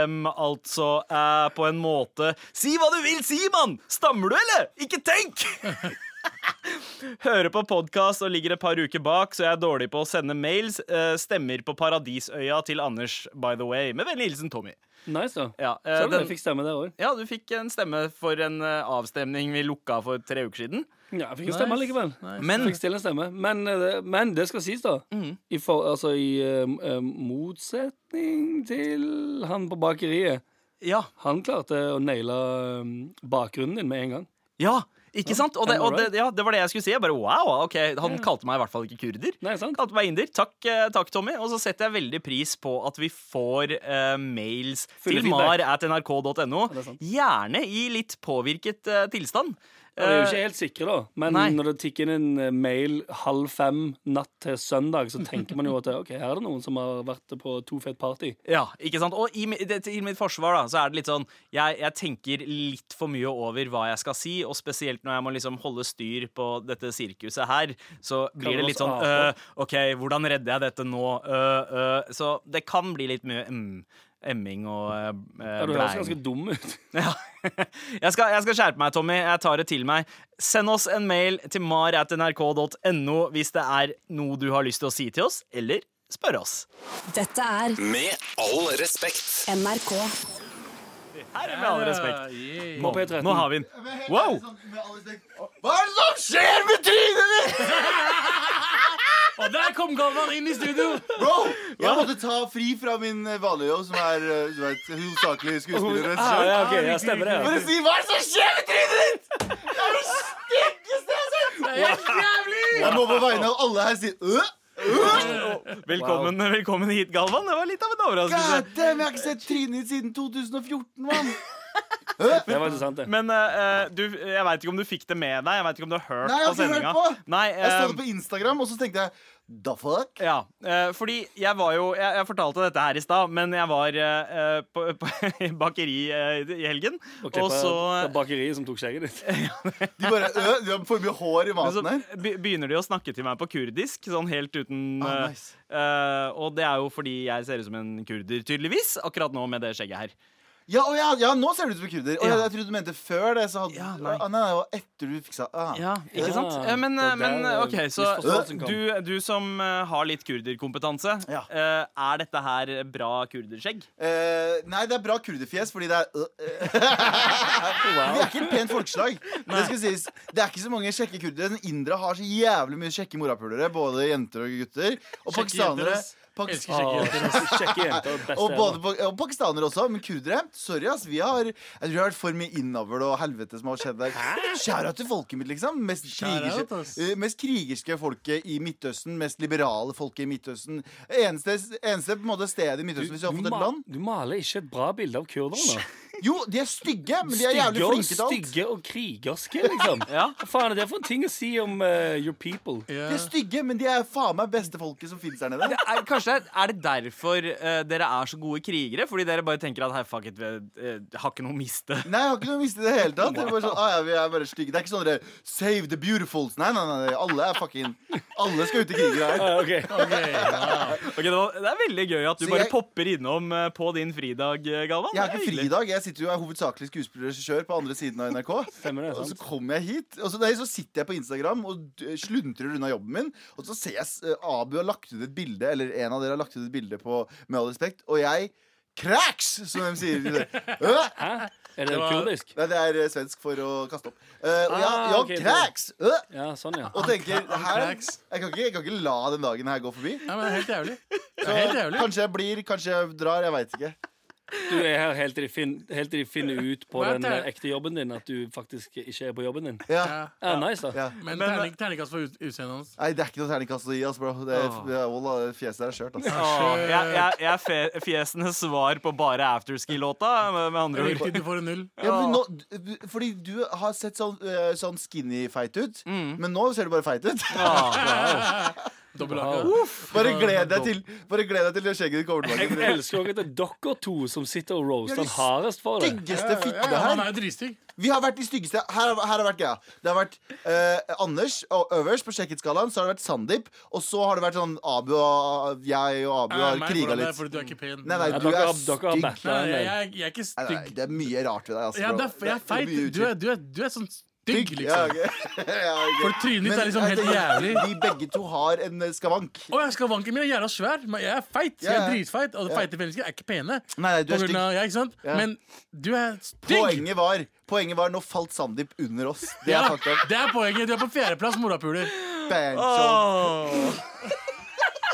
S3: em, altså æ, på en måte Si hva du vil si, mann! Stammer du, eller? Ikke tenk! Hører på podkast og ligger et par uker bak, så jeg er dårlig på å sende mails. Eh, stemmer på Paradisøya til Anders, by the way. Med vennlig hilsen Tommy.
S5: Nice, da.
S3: Ja, eh,
S5: Selv om
S3: den-
S5: jeg fikk stemme der òg.
S3: Ja, du fikk en stemme for en eh, avstemning vi lukka for tre uker siden.
S5: Ja, jeg fikk en stemme likevel.
S3: Men Mm.
S5: Fikk stille en stemme. Men, eh, det- men det skal sies, da. I, for, altså, i eh, eh, motsetning til han på bakeriet.
S3: Ja.
S5: Han klarte å naile eh, bakgrunnen din med en gang.
S3: ja ikke sant? Og, det, og det,
S5: alright.
S3: ja, det var det jeg skulle si. Jeg bare wow, ok, Han kalte meg i hvert fall ikke kurder.
S5: Nei, sant?
S3: Kalte meg inder. Takk, eh, takk, Tommy. Og så setter jeg veldig pris på at vi får eh, mails
S5: Fulle
S3: til
S5: feedback.
S3: mar at nrk.no.
S5: det er sant.
S3: Gjerne i litt påvirket eh, tilstand.
S5: Ja,
S2: eh,
S5: Vi er jo ikke helt sikre, da. Men
S3: Nei.
S5: når det tikker inn en eh, mail halv fem natt til søndag, så tenker man jo at ok, her er det noen som har vært på to fet party.
S3: Ja, ikke sant? Og i, mi- det, til mitt forsvar da, så er det litt sånn jeg, jeg tenker litt for mye over hva jeg skal si, og spesielt når jeg må liksom holde styr på dette sirkuset her, så blir det
S5: vi
S3: litt
S5: oss
S3: sånn
S5: ape?
S3: øh, OK, hvordan redder jeg dette nå? Øh, øh. så det kan bli litt mye mm, emming og øh,
S5: Ja, du høres ganske
S3: blæing.
S5: dum ut.
S3: Ja. Jeg, skal, jeg skal skjerpe meg, Tommy. Jeg tar det til meg. Send oss en mail til mar.nrk.no hvis det er noe du har lyst til å si til oss, eller spørre oss.
S9: Dette er
S1: Med all respekt.
S9: NRK.
S3: Her er med
S6: Ah,
S3: all respekt.
S5: På P13.
S3: Nå har vi den.
S2: Wow! Hva er det som skjer med trynet ditt?!
S6: Og der kom Galvan inn i studio!
S2: Bro, jeg måtte ta fri fra min eh, vanlige jobb, som er eh, du vet, hovedsakelig skuespiller. og regissør.
S5: ja, ok, ja, stemmer det.
S2: Bare si hva er det som skjer med trynet ditt?! Det er det styggeste jeg har sett! Jeg må på vegne av alle her si øh!
S3: Velkommen, velkommen hit, Galvan. Det var litt av en overraskelse.
S2: God damn, jeg har ikke sett trynet ditt siden 2014, mann!
S5: Det var interessant, det.
S3: Men eh, eh, du, jeg veit ikke om du fikk det med deg. Jeg vet ikke om du har hørt
S2: Nei, jeg har
S3: på
S2: ikke hørt
S3: sendinga.
S2: på.
S3: Nei,
S2: Jeg så
S3: eh,
S2: det på Instagram, og så tenkte jeg da fuck?
S3: Ja, eh, fordi jeg var jo Jeg, jeg fortalte dette her i stad, men jeg var eh, eh, på, på i bakeri eh, i helgen.
S5: Og
S3: Og så
S5: klippa bakeriet som tok skjegget ditt.
S2: De bare øh, de har for mye hår i
S3: men eh, så
S2: maten her.
S3: be- begynner de å snakke til meg på kurdisk, sånn helt uten
S2: Ah,
S3: eh,
S2: nice.
S3: eh, Og det er jo fordi jeg ser ut som en kurder, tydeligvis, akkurat nå med det skjegget her.
S2: Ja, å ja, ja, nå ser du ut som en kurder. Å,
S3: Ja.
S2: ja. Jeg trodde du mente før det. Så hadde,
S3: Ja,
S2: nei.
S3: nei.
S2: Ah, nei, det var etter du fiksa ah.
S3: Ja, ikke sant?
S5: Ja,
S3: Eh, Men,
S5: det var
S3: men
S5: der, eh,
S3: OK, så
S5: misforståelsen kom.
S3: du, du som eh, har litt kurderkompetanse,
S2: Ja.
S3: eh, er dette her bra kurderskjegg?
S2: Eh, nei, det er bra kurderfjes, fordi det er øh, øh. Vi er ikke et pent folkeslag. Det, skal sies, det er ikke så mange kjekke kurdere. Den indre har så jævlig mye kjekke morapulere. Både jenter og gutter. Og pakistanere.
S6: ass.
S2: Pakis-
S6: Elsker kjekke jenter.
S5: Kjekke jenter. Beste
S2: og,
S5: jeg
S2: både,
S5: vet.
S2: pa- og pakistanere også, men kurdere Sorry, ass. Vi har, jeg tror det har vært for mye innavl og helvete som har skjedd der. Skjæra til folket mitt, liksom. Mest
S6: Shout out,
S2: krigerske,
S6: ass.
S2: eh, mest krigerske folket i Midtøsten. Mest liberale folket i Midtøsten. Eneste, eneste på en måte stedet i Midtøsten hvis vi har fått
S5: ma-
S2: et land.
S5: du maler ikke et bra bilde av kurdere nå.
S2: Jo, de er stygge, men de er jævlig
S5: Stygge og-
S2: flinke til alt.
S5: Stygge og krigerske, liksom. Hva faen er det for en ting å si om eh, your people?
S6: Ja.
S2: De er stygge, men de er faen meg beste folket som finnes der nede.
S3: Er, kanskje er det derfor eh, dere er så gode krigere? Fordi dere bare tenker at hei, fuck it, vi eh, har ikke noe å miste.
S2: Nei, jeg har ikke noe å miste i det hele tatt. Det er bare sånn, ah, ja, vi er bare stygge. Det er ikke sånn dere save the beautifuls. Nei, nei, nei, alle er fucking Alle skal ut i kriger her.
S3: Ok, det, var, det er veldig gøy at du
S2: Så
S3: bare
S2: jeg-
S3: popper innom eh, på din fridag, eh, Galvan.
S2: Jeg har
S3: Det er
S2: ikke
S3: hyggelig.
S2: fridag. Jeg sitter jo og er hovedsakelig skuespiller og regissør på andre siden av NRK. og så kommer jeg hit, og så, nei, så sitter jeg på Instagram og d- sluntrer unna jobben min. Og så ser jeg s- eh, Abu har lagt ut et bilde, eller en av dere har lagt ut et bilde på Med all respekt, og jeg Cracks, som de sier. Øh!
S5: Hæ? Er det
S6: var-
S5: kurdisk?
S2: Nei, det er eh, svensk for å kaste opp. Eh, og jeg,
S5: Ah,
S2: ja,
S5: ok, det-
S2: cracks! Øh!
S5: Ja, sånn, ja.
S2: Og tenker her, jeg,
S6: cracks.
S2: kan ikke, jeg kan ikke la den dagen her gå forbi.
S6: Nei, men det er helt jævlig. Det
S2: Så
S6: er helt jævlig.
S2: kanskje jeg blir, kanskje jeg drar. Jeg veit ikke.
S5: Du er her helt til de, fin, helt til de finner ut på
S6: Hva er
S5: den
S6: det?
S5: eh, ekte jobben din at du faktisk ikke er på jobben din.
S2: Ja.
S6: Ja.
S5: Ja, nice da
S2: Ja.
S6: Men eh, terning- terningkast for ut- utseendet hans.
S2: Nei, det er ikke noe terningkast å gi, ass, bro. Det,
S3: Åh.
S2: det, wallah, det fjeset der er skjørt, altså. ass.
S3: Åh, jeg, jeg, jeg er fe- fjesenes svar på bare afterski-låta, med, med andre ord.
S6: Riktig, du får en null.
S2: Ja, men nå, d- fordi du har sett sånn, eh, sånn skinny feit ut,
S5: Mm.
S2: men nå ser du bare feit ut.
S6: Dobbel AK.
S2: Bare gled deg til Bare gled deg til det skjegget ditt kommer
S5: Jeg
S2: tilbake.
S5: elsker også at det er dere to som sitter og roaster
S2: Ja,
S5: han
S2: de
S5: hardest for det.
S2: Styggeste
S6: Ja,
S2: fitte
S6: ja, han
S2: her.
S6: er jo dristygg.
S2: Vi har vært de styggeste. Her, har- her har vært greia. Det har vært eh, Anders og øverst på skjekketskalaen. Så har det vært Sandeep. Og så har det vært sånn Abu og jeg og Abu
S6: Ja,
S2: har
S6: meg,
S2: kriga
S6: hvordan det er,
S2: litt.
S6: Fordi du er ikke pen.
S2: Nei, nei,
S5: Ja,
S2: du
S5: dere,
S2: er
S5: har, dere har
S2: stygg.
S5: battla
S6: Nei,
S5: en
S6: jeg,
S5: del.
S6: jeg, jeg er ikke
S2: Nei, nei,
S6: stygg.
S2: det er mye rart ved deg. Altså,
S6: Ja,
S2: bro.
S6: det er, jeg er
S2: Det er
S6: feit.
S2: mye
S6: Du er, du er, du er sånn stygg,
S2: uttrykk. Ja,
S6: liksom.
S2: ok. Ja, ok.
S6: For trynet ditt er liksom
S2: Men, nei,
S6: helt
S2: det-
S6: jævlig.
S2: Vi begge to har en eh, skavank.
S6: Å, jeg skal vanken min er jævla svær, men jeg er feit. så Jeg
S2: Ja,
S6: er
S2: ja.
S6: dritfeit, og feite mennesker er ikke pene.
S2: Nei, nei, du
S6: På
S2: er
S6: grunn
S2: stygg.
S6: av, ja, ikke sant?
S2: Ja.
S6: Men du er stygg!
S2: Poenget var, poenget var nå falt Sandeep under oss. Det
S6: Ja,
S2: er fakta.
S6: det er poenget. Du er på fjerdeplass, morapuler.
S2: Bang, så-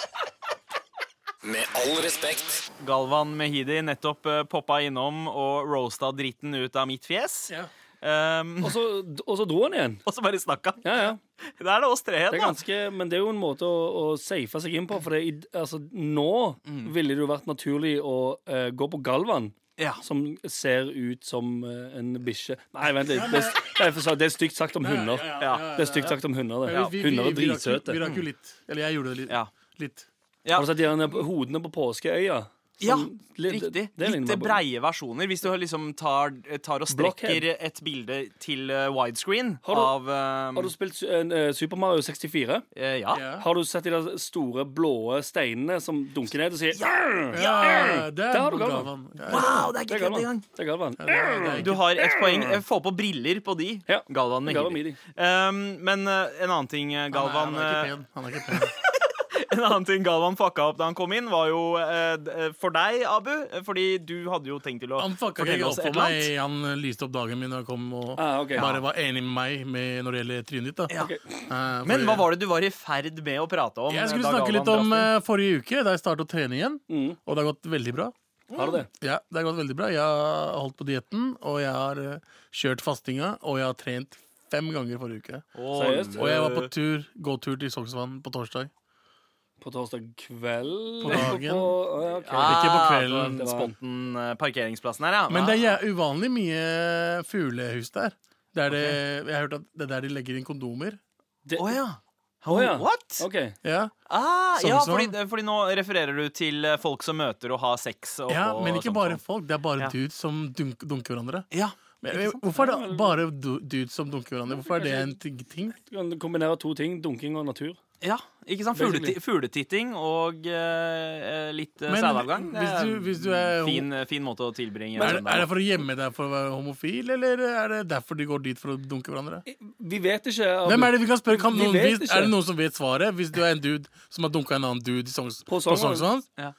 S10: Med all respekt.
S3: Galvan Mehidi nettopp eh, poppa innom og roasta dritten ut av mitt fjes.
S6: Ja.
S3: Ehm,
S5: Og så, og så dro han igjen.
S3: og så bare snakka.
S5: Ja, ja.
S3: Det er det oss tre
S5: Det
S3: igjen,
S5: er
S3: da.
S5: ganske, men det er jo en måte å, å safe seg inn på. For det, er i- altså, nå
S2: Mm.
S5: ville det jo vært naturlig å eh, gå på Galvan,
S3: Ja.
S5: som ser ut som eh, en bikkje. Nei, vent litt. Det, er- det, er for sa- det er stygt sagt om hunder.
S3: Ja.
S5: Det er stygt sagt om hunder.
S6: Men
S5: Det.
S6: vi- vi- vi-
S5: Hunder er
S6: vi rakk jo-
S5: dritsøte.
S6: Vi rakk jo litt. Eller jeg gjorde det litt.
S3: Ja.
S6: litt.
S3: Ja.
S5: Har du sett de her hodene på påskeøya?
S3: Ja,
S5: Som-
S3: riktig.
S5: det ligner
S3: Litt eh,
S5: meg på-
S3: breie versjoner. Hvis du liksom tar, tar og
S5: Blockhead.
S3: strekker et bilde til eh, widescreen
S5: Har du-
S3: av ehm,
S5: Har du spilt eh, Super Mario 64?
S3: eh, Ja.
S6: Ja.
S5: Har du sett de der store blå steinene som dunker ned og sier
S6: Ja, det
S5: Der har
S6: er
S5: du Galvan.
S6: Galvan. Ja.
S3: Wow, det er
S5: Det er Galvan. Det er Galvan.
S6: det er
S3: Du
S6: ikke-
S3: har ett poeng. Eh, Få på briller på de.
S5: Ja.
S3: Galvan
S5: Galvan
S3: Mehidi.
S5: Mehidi.
S3: Ehm, men eh, en annen ting, eh, Galvan
S6: Han er, han
S3: eh,
S6: er ikke pen. Han er ikke pen.
S3: En annen ting Galvan fucka opp da han kom inn, var jo eh, d- eh, for deg, Abu. eh, Fordi du hadde jo tenkt til å
S6: Han fucka
S3: fortelle
S6: ikke
S3: oss
S6: opp
S3: et
S6: for
S3: eller
S6: meg.
S3: annet.
S6: Han eh, lyste opp dagen min og kom og
S5: Ah, ok.
S6: bare var enig med meg med, når det gjelder trynet ditt. da
S3: Ja.
S6: Eh,
S3: Men
S6: fordi-
S3: hva var det du var i ferd med å prate om?
S6: Jeg
S3: eh,
S6: skulle
S3: da
S6: snakke
S3: Galvan Mm.
S6: litt om
S3: brast inn?
S6: eh, forrige uke, da jeg startet å trene igjen. Og det har gått veldig bra.
S5: Har du det?
S6: Ja, det har gått veldig bra. Jeg har holdt på dietten, og jeg har eh, kjørt fastinga, og jeg har trent fem ganger forrige uke.
S3: Å,
S5: Seriøst? Eh,
S6: Og eh, jeg var på tur, gåtur til Sognsvann på torsdag.
S5: På torsdag kveld?
S6: På dagen.
S5: På- ja, ok.
S3: Ah,
S6: Ikke på kvelden.
S3: på den Spotten, eh, parkeringsplassen her, ja.
S6: Men det er
S3: Ah.
S6: jæ- uvanlig mye fuglehus der. Det er det, jeg har hørt at det er der de legger inn kondomer.
S5: Det-
S3: Å ja.
S5: Å ja.
S3: What?
S5: OK.
S6: Ja,
S3: Ah,
S6: Sånn
S3: ja, fordi,
S6: Sognsvann.
S3: fordi nå refererer du til eh, folk som møter og har sex. Og
S6: ja
S3: på
S6: men ikke
S3: Sognsvann.
S6: bare folk. Det er bare
S3: Ja.
S6: dudes som dunk, dunker hverandre.
S3: Ja.
S6: Men, jeg- hvorfor er det bare du- dudes som dunker hverandre? Hvorfor er det en ting? ting?
S5: Du kan kombinere to ting. Dunking og natur.
S3: Ja, ikke sant?
S5: Basically.
S3: Fugleti- Fugletitting og eh, eh, litt eh,
S6: Men
S3: sædavgang. Det
S6: hvis
S3: er
S6: du-
S3: en
S6: hvis du er-
S3: fin, eh, fin måte å tilbringe
S6: Er det,
S3: en
S6: er det
S3: søndag.
S6: for å gjemme deg for å være homofil, eller er det derfor de går dit for å dunke hverandre?
S5: Vi vet ikke. om-
S6: Hvem Er det vi kan spørre? Kan
S5: Vi
S6: noen,
S5: vet
S6: hvis,
S5: ikke.
S6: er det noen som vet svaret? Hvis du er en dude som har dunka en annen dude i Songs, på
S5: På Sognsvann.
S6: Sognsvann?
S3: Ja.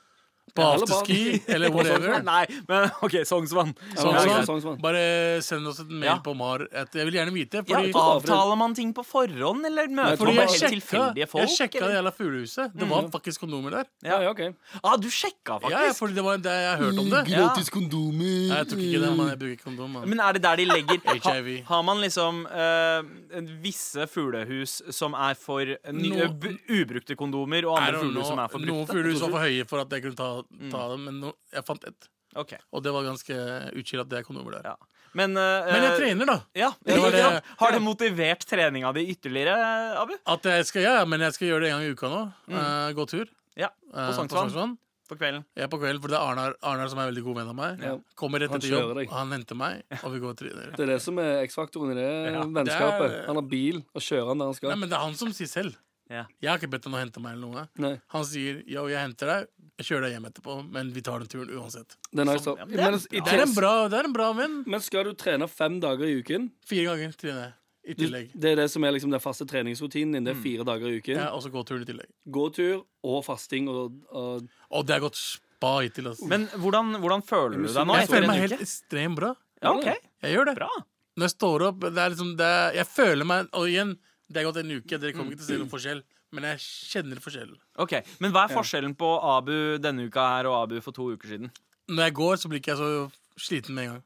S6: På
S5: Ja, eller bare-
S6: afterski, eller whatever?
S3: sånn- Nei, men OK, Sognsvann.
S5: Sognsvann.
S3: Ja, sånn-
S5: Sognsvann.
S6: Bare send oss en mail
S3: Ja.
S6: på Mar. Et, jeg vil gjerne vite.
S3: Ja,
S6: Fordi,
S3: avtaler man ting på forhånd, eller møter
S6: fordi
S3: man bare
S6: jeg
S3: helt
S6: sjekka,
S3: tilfeldige
S6: jeg
S3: folk?
S6: sjekka det
S3: eller?
S6: jævla fuglehuset.
S5: Mm.
S6: Det var faktisk kondomer der.
S5: Ja, ja, ok.
S3: Ah, du sjekka
S6: Ja, ja,
S3: faktisk?
S6: fordi det var det jeg hørte om det.
S3: Ja.
S6: Nei, jeg tok ikke det, man. Jeg bruker ikke kondom. Man.
S3: Men er det der de legger ha,
S6: HIV.
S3: Har man liksom eh, en visse fuglehus som er for ny,
S6: Noe-
S3: bu- ubrukte kondomer, og
S6: I
S3: andre
S6: don't know.
S3: fuglehus som er for
S6: Noen
S3: brukte?
S6: fuglehus var for høye for at jeg kunne ta, ta
S3: Mm.
S6: dem, men no, jeg fant ett.
S3: Ok,
S6: Og det var ganske utskilt at det er kondomer der.
S3: ja. Men, eh,
S6: Men jeg trener, da.
S3: Ja,
S6: Det var
S3: ikke sant?
S6: det-
S3: Har det motivert treninga di ytterligere, Abu?
S6: At jeg skal, ja, ja, men jeg skal gjøre det en gang i uka nå.
S5: Mm.
S6: Eh, gå tur.
S3: Ja,
S6: eh,
S3: på Sognsvann på kvelden.
S6: Jeg er på kvelden, for det er Arnar, Arnar som er en veldig god venn av meg.
S5: Ja.
S6: Kommer rett
S5: Han
S6: etter jobb,
S5: kjører deg.
S6: og han henter meg, og vi går og trener.
S5: Det er det som er X-faktoren i det
S6: det er-
S5: vennskapet. Han har bil og kjører han der han skal.
S6: Nei, men det er han som sier selv.
S3: Ja.
S6: Jeg har ikke bedt han å hente meg eller noe.
S5: Nei.
S6: Han sier yo, jeg henter deg, jeg kjører deg hjem etterpå, men vi tar den turen uansett.
S5: Det er nice, da.
S3: men det er
S5: Men, i
S6: Det er en
S5: tillegg-
S6: bra, det er en bra venn.
S5: men skal du trene fem dager i uken?
S6: Fire ganger trener jeg. I tillegg.
S5: Det er det som er liksom den faste treningsrutinen din. Det er fire dager i uken.
S6: Jeg har også gåturen i tillegg.
S5: Gåtur og fasting og, og
S6: Og det har gått spa hittil. Altså.
S3: Men hvordan, hvordan føler du deg nå?
S6: jeg
S3: etter
S6: føler
S3: en
S6: meg
S3: uke?
S6: helt ekstremt bra.
S3: Ja, ok,
S6: Jeg gjør det.
S3: bra.
S6: Når jeg står opp, det er liksom det er, Jeg føler meg Og igjen, det er gått en uke, dere kommer ikke til å se noen forskjell. Men jeg kjenner forskjellen.
S3: Ok, Men hva er forskjellen på Abu denne uka her og Abu for to uker siden?
S6: Når jeg går, så blir ikke jeg så sliten med en gang.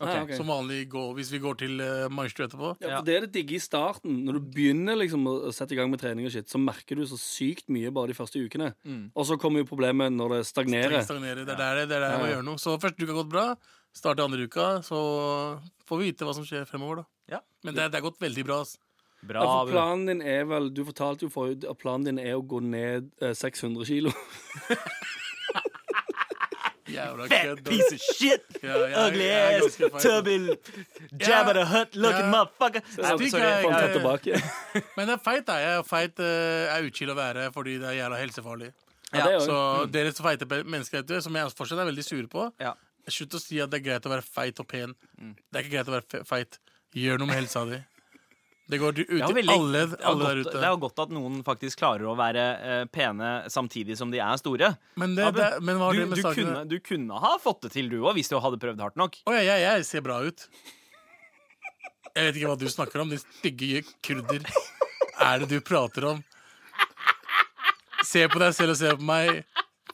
S5: Ja, ok.
S6: Som vanlig gå, hvis vi går til uh, Maestro etterpå.
S5: Ja,
S3: Ja.
S5: for Det er det digge i starten. Når du begynner liksom å å sette i gang med trening, og shit, så merker du så sykt mye bare de første ukene. Og så kommer jo problemet når det stagnerer.
S6: Trenger ikke stagnere. Det er der, det- det er der jeg må
S5: Ja, ja.
S6: gjøre noe. Så første uka har gått bra. Start andre uka, så får vi vite hva som skjer fremover, da.
S3: Ja.
S6: Men det, er- det har gått veldig bra. ass.
S3: Bra,
S5: Ja, for
S3: Abu.
S5: planen din er vel Du fortalte jo forrige at planen din er å gå ned eh, 600 kilo.
S6: Jævla kødd. ass.
S3: of shit!
S6: Ja, jeg- jeg er ganske feil, ass. Jabba the
S3: Hutt
S6: looking Ja.
S3: motherfucker.
S6: Stig
S5: Sorry, jeg falt helt
S6: er,
S5: tilbake.
S6: men det er feit, da. Jeg er feit eh, er utkild å være fordi det er jævla helsefarlig.
S5: Ja, det er jo.
S6: Så dere som feite pe- mennesker der ute, som jeg fortsatt er veldig sure på,
S3: Ja. Mm.
S6: slutt å si at det er greit å være feit og pen. Det er ikke greit å være fe- feit. Gjør noe med helsa di. Det går ut
S3: Det er,
S6: til
S3: veldig,
S6: alle,
S3: det, er
S6: alle der
S3: godt,
S6: ute.
S3: det er jo godt at noen faktisk klarer å være eh, pene samtidig som de er store.
S6: Men det-
S3: Abu,
S6: det- men hva har
S3: du,
S6: det med
S3: du,
S6: saken
S3: kunne, du kunne ha fått det til, du òg, hvis du hadde prøvd hardt nok.
S6: Å ja, jeg, jeg ser bra ut. Jeg vet ikke hva du snakker om, din stygge kurder. Er det du prater om? Se på deg selv og se på meg.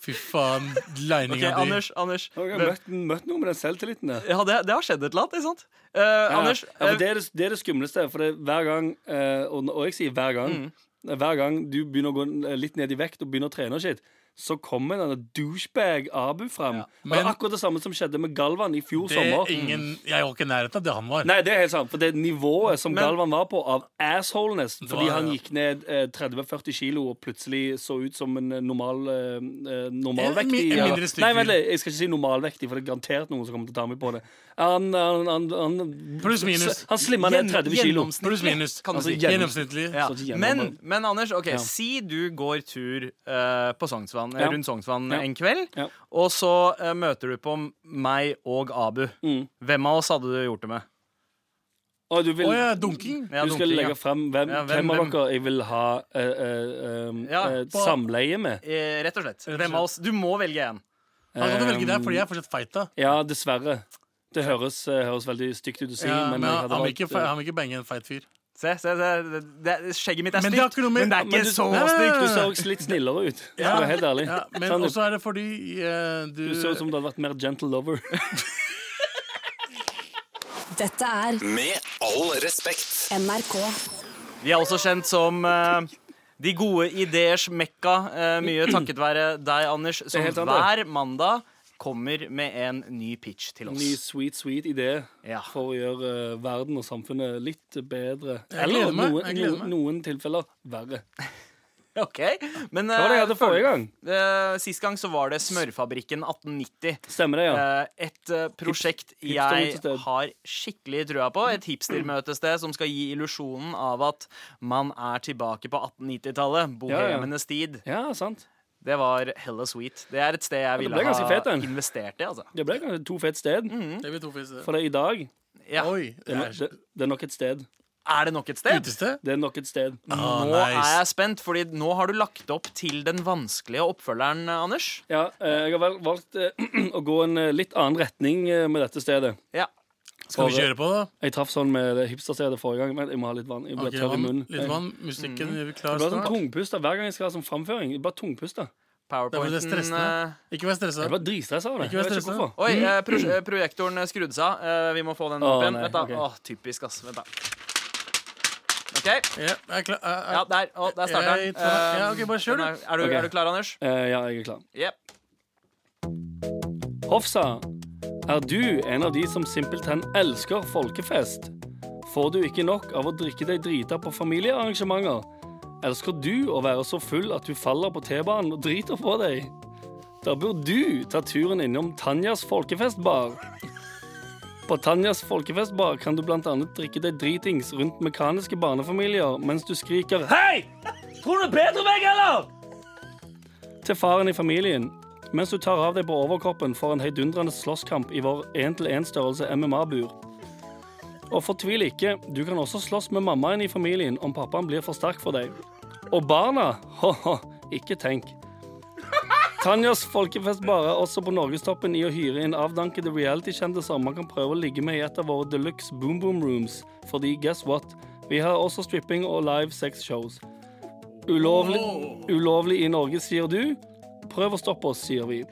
S6: Fy faen,
S3: Ok,
S6: lininga di.
S3: Anders, Anders
S5: Jeg har
S3: hvem-
S5: møtt, møtt noe med den selvtilliten der.
S3: ja, det, det har skjedd et eller annet, ikke sant? Eh, Anders,
S5: ja,
S3: eh,
S5: for det, er det, det er det skumleste. For det er hver gang, eh, og, og jeg sier hver gang
S6: Mm.
S5: Hver gang du begynner å gå n- litt ned i vekt og begynner å trene, og shit, så kommer denne douchebag Abu fram. Og det
S6: Men-
S5: er akkurat det samme som skjedde med Galvan i fjor
S6: Det
S5: sommer.
S6: er ingen, jeg var ikke i nærheten av det han var.
S5: Nei, det er helt sant, for det nivået som
S3: Men-
S5: Galvan var på av assholeness fordi
S6: var-
S5: han gikk ned eh, 30-40 kilo og plutselig så ut som en eh, normal eh, eh, normalvektig
S6: En mi- en
S5: eller-
S6: mindre stygg
S5: Nei,
S6: fyr.
S5: vent litt, jeg skal ikke si normalvektig, for det er garantert noen som kommer til å ta meg på det. Han, han, han, han,
S6: Pluss minus.
S5: Han slimma ned
S3: Gjenn-
S5: 30 kilo.
S3: gjennomsnittlig,
S6: Pluss minus.
S3: kan du
S5: Altså,
S3: si.
S5: gjennom-
S6: Gjennomsnittlig.
S3: Ja.
S5: Så gjennom-
S3: Men, men Anders, ok,
S5: Ja.
S3: si du går tur eh, på Sognsvann, eh,
S5: Ja.
S3: rundt Sognsvann
S5: Ja.
S3: en kveld,
S5: Ja.
S3: og så eh, møter du på m- meg og Abu.
S5: Mm.
S3: Hvem av oss hadde du gjort det med?
S5: Og du vil
S6: Å ja, dunking.
S3: Ja,
S5: du skal
S3: dunking, ja.
S5: legge frem hvem,
S3: Ja, hvem-
S5: hvem, av
S3: hvem?
S5: dere jeg vil ha eh, eh, um,
S3: Ja,
S5: eh,
S6: på-
S5: samleie med.
S3: Eh, rett og slett. Hvem av oss? Du må velge én.
S6: Han kan Altså, du velge der, fordi jeg er fortsatt feit. da
S5: Ja, dessverre. Det høres, eh, høres veldig stygt ut å si,
S6: ja,
S5: men,
S6: Men
S5: jeg
S6: han
S5: hadde
S6: han vil ikke,
S5: valgt,
S6: fe-
S5: eh,
S6: han vil ikke bange en feit fyr.
S3: Se, se, se. Det, det, skjegget mitt er stygt,
S6: Men det har ikke noe
S3: men
S6: med-
S3: det er
S6: men
S3: ikke
S6: du-
S3: så
S6: Nei, nei, nei,
S3: stygt.
S5: Du så også litt snillere ut. Ja. Skal være helt ærlig.
S6: Ja, men
S5: Sandeep,
S6: også er det fordi eh, du,
S5: du så ut som du hadde vært mer gentle lover.
S9: Dette er
S11: Med all respekt.
S9: NRK.
S3: Vi er også kjent som eh, de gode ideers mekka, eh, mye takket være deg, Anders, som
S5: helt sant,
S3: hver mandag kommer med en ny pitch til oss.
S5: Ny sweet, sweet idé
S3: Ja.
S5: for å gjøre eh, verden og samfunnet litt bedre.
S6: Jeg gleder
S5: Eller
S6: meg,
S5: noen,
S6: jeg gleder
S5: noen, noen tilfeller verre.
S3: Ok, men
S5: Hva var det jeg hadde
S3: eh,
S5: forrige gang?
S3: Eh, sist gang så var det Smørfabrikken 1890.
S5: Stemmer det, ja.
S3: Eh, et eh, prosjekt jeg
S5: hipstermøtested.
S3: har skikkelig trua på. Et hipstermøtested som skal gi illusjonen av at man er tilbake på 1890-tallet.
S5: Ja, ja.
S3: Bohemenes tid.
S5: Ja, sant.
S3: Det var hella sweet. Det er et sted jeg ville
S5: ble
S3: ha
S5: ganske fet, den.
S3: investert i. altså
S5: Det ble kanskje to fete sted.
S6: Det blir to fise.
S5: sånn. For det er i dag det
S3: ja.
S6: Oi. Det
S5: er,
S6: Mm. er
S5: nok, det, det er nok et sted.
S3: Er det nok et sted?
S6: utested?
S5: Det er nok et sted.
S6: Ah,
S3: Nå
S6: nice.
S3: er jeg spent, Fordi nå har du lagt opp til den vanskelige oppfølgeren, eh, Anders.
S5: Ja, eh, jeg har vel valgt eh, å gå en eh, litt annen retning eh, med dette stedet.
S3: Ja.
S6: Skal vi
S5: For-
S6: kjøre på, da?
S5: Jeg traff sånn med det hipsterstedet forrige gang, men jeg må ha litt vann. Jeg ble
S6: Ok,
S5: tørr i
S6: vann,
S5: munnen.
S6: Litt vann. Musikken er
S5: Jeg
S6: klar
S5: blir sånn
S6: snart.
S5: tungpusta hver gang jeg skal ha sånn framføring. Jeg blir tungpusta.
S6: Det var det
S3: Powerpointen
S6: stressende.
S3: eh,
S6: Ikke vær stressa.
S5: Jeg blir dritstressa av det. Jeg
S6: Ikke vær
S5: vet ikke
S6: stressa.
S5: hvorfor.
S3: Oi, eh, pro eh, projektoren eh, skrudde seg av. Eh, vi må få den
S5: Å,
S3: opp igjen.
S5: nei,
S3: Vent da.
S5: ok.
S3: Åh, typisk, ass. Vent da. OK.
S6: Ja, jeg er klar. Jeg, jeg,
S3: Ja, der. Å, der starter
S6: Jeg
S3: den. Eh,
S6: tar den. Ja, ok, bare kjør,
S3: den
S6: du.
S3: Er, er, du
S5: Ok.
S3: er du klar, Anders?
S5: Eh, ja, jeg er klar.
S3: Jepp.
S5: Hofsa, er du en av de som simpelthen elsker folkefest? Får du ikke nok av å drikke deg drita på familiearrangementer? Elsker du å være så full at du faller på T-banen og driter på deg? Da bør du ta turen innom Tanjas folkefestbar. På Tanjas folkefestbar kan du bl.a. drikke deg dritings rundt mekaniske barnefamilier mens du skriker 'hei!' Tror du bedre meg, eller? Til faren i familien. Mens du tar av deg på overkroppen for en heidundrende slåsskamp i vår 1-til-1-størrelse MMA-bur. Og fortvil ikke, du kan også slåss med mammaen i familien om pappaen blir for sterk for deg. Og barna? Ho-ho, ikke tenk. Tanjas folkefest barer også på norgestoppen i å hyre inn avdankede reality-kjendiser man kan prøve å ligge med i et av våre deluxe boom boom rooms, fordi guess what? Vi har også stripping og live sex-shows. Ulovlig, ulovlig i Norge, sier du. Prøv å stoppe oss, sier vi.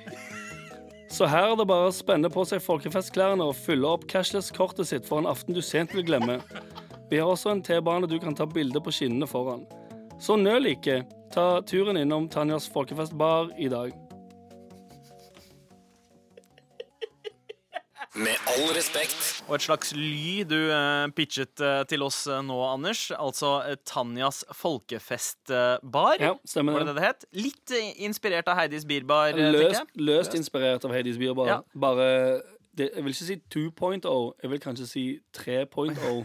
S5: Så her er det bare å spenne på seg folkefestklærne og fylle opp cashless-kortet sitt for en aften du sent vil glemme. Vi har også en T-bane du kan ta bilde på skinnene foran. Så nøl ikke. Ta turen innom Tanjas folkefestbar i dag.
S12: Med all respekt.
S3: Og et slags ly du eh, pitchet eh, til oss eh, nå, Anders. Altså eh, Tanjas folkefestbar.
S5: Ja, stemmer
S3: Var det
S5: det.
S3: det het? Litt eh, inspirert av Heidis Bierbar. eh, tenker
S5: Løst,
S3: jeg.
S5: løst inspirert av Hades Bierbar.
S3: Ja.
S5: Bare det, Jeg vil ikke si 2.0, jeg vil kanskje si oh. 3.0.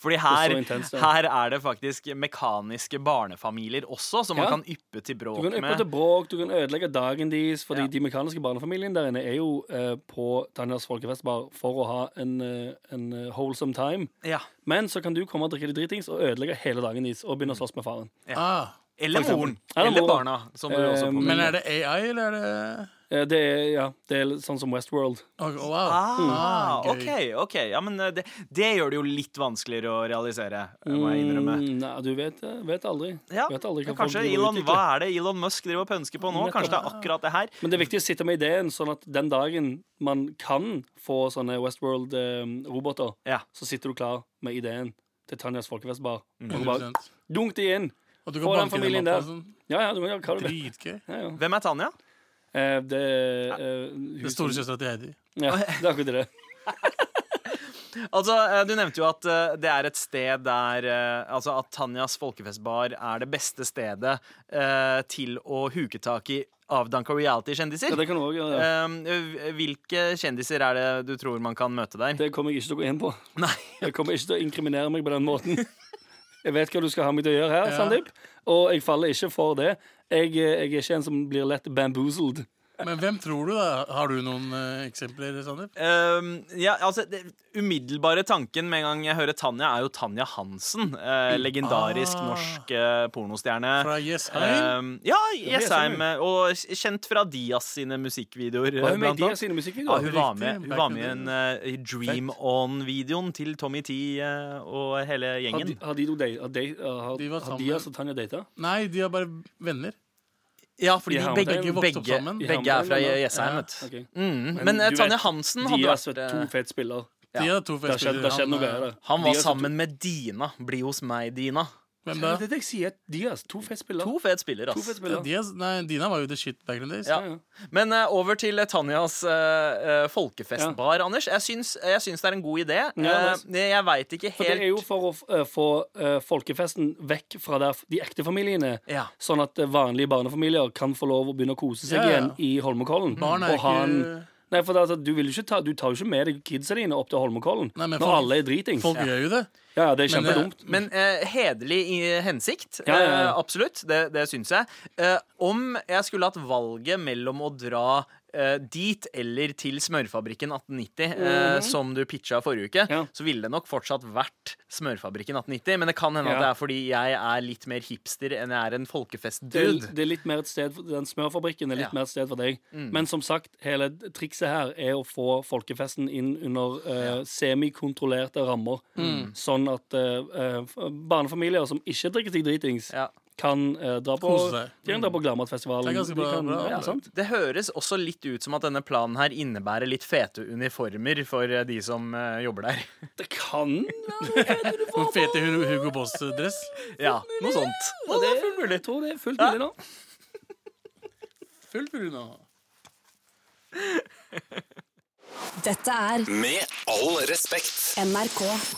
S3: Fordi
S5: Det
S3: her,
S5: er så intenst, det.
S3: her er det faktisk mekaniske barnefamilier også, som man
S5: Ja.
S3: kan yppe til
S5: Du
S3: bråk
S5: kan yppe
S3: med.
S5: til bråk, du kan ødelegge dagen deres, fordi
S3: Ja.
S5: de mekaniske barnefamilien der inne er jo eh, på Tanjas folkefestbar for å ha en, eh, en eh, wholesome time.
S3: Ja.
S5: Men så kan du komme og drikke deg dritings og ødelegge hele dagen deres og begynne å slåss med faren.
S6: Ah,
S3: Eller
S5: eksempel.
S3: moren.
S5: Eller
S3: Eller
S5: moren.
S3: barna. Som du også
S5: Eh,
S3: påpeker.
S6: men er det AI, eller er det
S5: Eh, Det er, ja, det er litt sånn som Westworld.
S6: Å, Wow.
S3: Ah,
S5: Mm.
S6: gøy.
S3: OK. ok Ja, men eh, det, det gjør det jo litt vanskeligere å realisere, må jeg innrømme.
S5: Mm, nei, du vet, eh, vet aldri.
S3: Ja,
S5: vet aldri hva
S3: men
S5: folk
S3: kanskje
S5: driver og
S3: Elon,
S5: utvikler.
S3: Hva er det Elon Musk driver og pønsker på nå? Kanskje det er akkurat det her?
S5: Men det er viktig å sitte med ideen, sånn at den dagen man kan få sånne Westworld-roboter,
S3: Ja.
S5: så sitter du klar med ideen til Tanjas folkefestbar.
S3: Mm.
S5: Og bare
S6: 100%.
S5: dunk de inn.
S6: Og du
S5: Få
S6: kan
S5: den
S6: banke
S5: familien
S6: dem
S5: der.
S6: opp. og Sånn.
S5: Ja, ja, du kan gjøre hva du vil.
S6: Dritgøy.
S5: Ja, ja.
S3: Hvem er Tanja?
S5: Eh, Det er eh,
S6: Det
S5: huset-
S6: store søstera til Heidi.
S5: Ja, det er akkurat det.
S3: Altså, eh, Du nevnte jo at eh, det er et sted der eh, Altså at Tanjas folkefestbar er det beste stedet eh, til å huke tak i avdanka
S5: Ja,
S3: reality-kjendiser.
S5: det kan du også gjøre. Ja.
S3: Eh, Hvilke kjendiser er det du tror man kan møte der?
S5: Det kommer jeg ikke til å gå inn på.
S3: Nei.
S5: Jeg kommer ikke til å inkriminere meg på den måten. Jeg vet hva du skal ha meg til å gjøre her, Sandeep, og jeg faller ikke for det. Jeg, eh, jeg er ikke en som blir lett bamboozled.
S6: Men hvem tror du, da? Har du noen eh, eksempler, Sander?
S3: Ehm, ja, altså det, Umiddelbare tanken med en gang jeg hører Tanja, er jo Tanja Hansen. eh, legendarisk
S6: Ah.
S3: norsk eh, pornostjerne.
S6: Fra Jessheim?
S3: Ehm, ja, Jessheim.
S5: Jessheim,
S3: eh, Og kjent fra Dias sine musikkvideoer.
S5: Var
S3: eh,
S5: hun med i
S3: blant
S5: de av
S3: annet.
S5: sine
S3: Ja,
S5: musikkvideoer?
S3: hun var
S6: Riktig,
S3: med, hun
S6: back
S3: var
S6: in
S3: med i
S6: the-
S3: en, eh, i Dream On-videoen til Tommy T eh, og hele
S5: Har de,
S3: gjengen.
S5: har de to date, har de, har,
S6: De var
S5: har
S6: sammen.
S5: de altså Tanja data?
S3: Mm.
S6: Nei, de er bare venner.
S3: Ja, fordi
S5: de
S3: de
S5: har-
S3: begge,
S6: begge
S3: begge,
S6: vokste opp sammen.
S5: De har
S3: begge
S5: med
S3: er fra
S5: hverandre.
S3: Jessheim.
S6: Ja,
S3: vet du.
S5: Ok.
S3: Mm,
S5: Men
S3: men eh,
S5: du
S3: Tanja
S5: vet,
S3: Hansen
S5: De
S3: hadde
S5: er
S3: vært
S5: sett to
S3: eh,
S5: fete spillere.
S6: De er to
S5: Det har skjedd, det har skjedd noe greier der.
S3: Han var
S5: Diaz og
S3: sammen med Dina. Bli hos meg, Dina.
S6: Hvem
S5: Det
S6: da?
S5: er det jeg sier. Diaz. To fete spillere.
S3: To fet spiller,
S5: To
S3: ass.
S5: fete spillere.
S6: Diaz, nei, Dina var jo the shit back in the days.
S3: Ja.
S5: ja.
S3: Men eh, over til eh, Tanjas eh, eh, folkefestbar, Anders. Jeg syns, jeg syns det er en god idé.
S5: Ja,
S3: Eh, jeg veit ikke
S5: For det er jo
S3: helt
S5: for å f- eh, få eh, folkefesten vekk fra der f- de ekte familiene.
S3: Ja.
S5: Sånn at eh, vanlige barnefamilier kan få lov å begynne å kose seg
S6: Ja, ja.
S5: igjen i Holmenkollen.
S6: Barn er
S5: og ha en-
S6: ikke-
S5: Nei, for det, er altså, du, vil jo ikke ta, du tar jo ikke med deg kidsa dine opp til Holmenkollen
S6: Nei, men
S5: når
S6: folk-
S5: alle er dritings.
S6: Folk
S5: ja.
S6: gjør jo det.
S5: ja, det er
S6: Men, eh,
S5: kjempedumt.
S3: Men eh, hederlig i hensikt.
S5: Ja, ja, ja.
S3: eh, absolutt. Det, det syns jeg. Eh, om jeg skulle hatt valget mellom å dra eh, dit eller til smørfabrikken 1890, eh, som du pitcha forrige uke,
S5: Mhm. Ja.
S3: så ville det nok fortsatt vært smørfabrikken 1890. Men det kan hende
S5: Ja.
S3: at det er fordi jeg er litt mer hipster enn jeg er en
S5: Det er,
S3: folkefestdude.
S5: det er litt mer et sted for, Den smørfabrikken er litt
S3: Ja.
S5: mer et sted for deg. Men som sagt, hele trikset her er å få folkefesten inn under eh, semikontrollerte rammer. Sånn at eh, eh, barnefamilier som ikke drikker seg dritings,
S3: Ja.
S5: kan eh, dra på
S6: Kose seg.
S5: De kan dra på Gladmatfestivalen.
S6: Det er ganske
S5: De
S6: bra-
S5: kan-
S6: bra
S5: ja,
S6: opplegg.
S5: sant?
S3: Det høres også litt ut som at denne planen her innebærer litt fete uniformer for eh, de som eh, jobber der.
S5: Det kan
S6: Noen fete Hu- Hugo Boss-dress.
S3: Ja, noe sånt.
S5: ja, det er fullt mulig. Jeg tror det er fullt mulig nå.
S6: Fullt bruna.
S9: Dette er
S12: Med all respekt.
S9: NRK.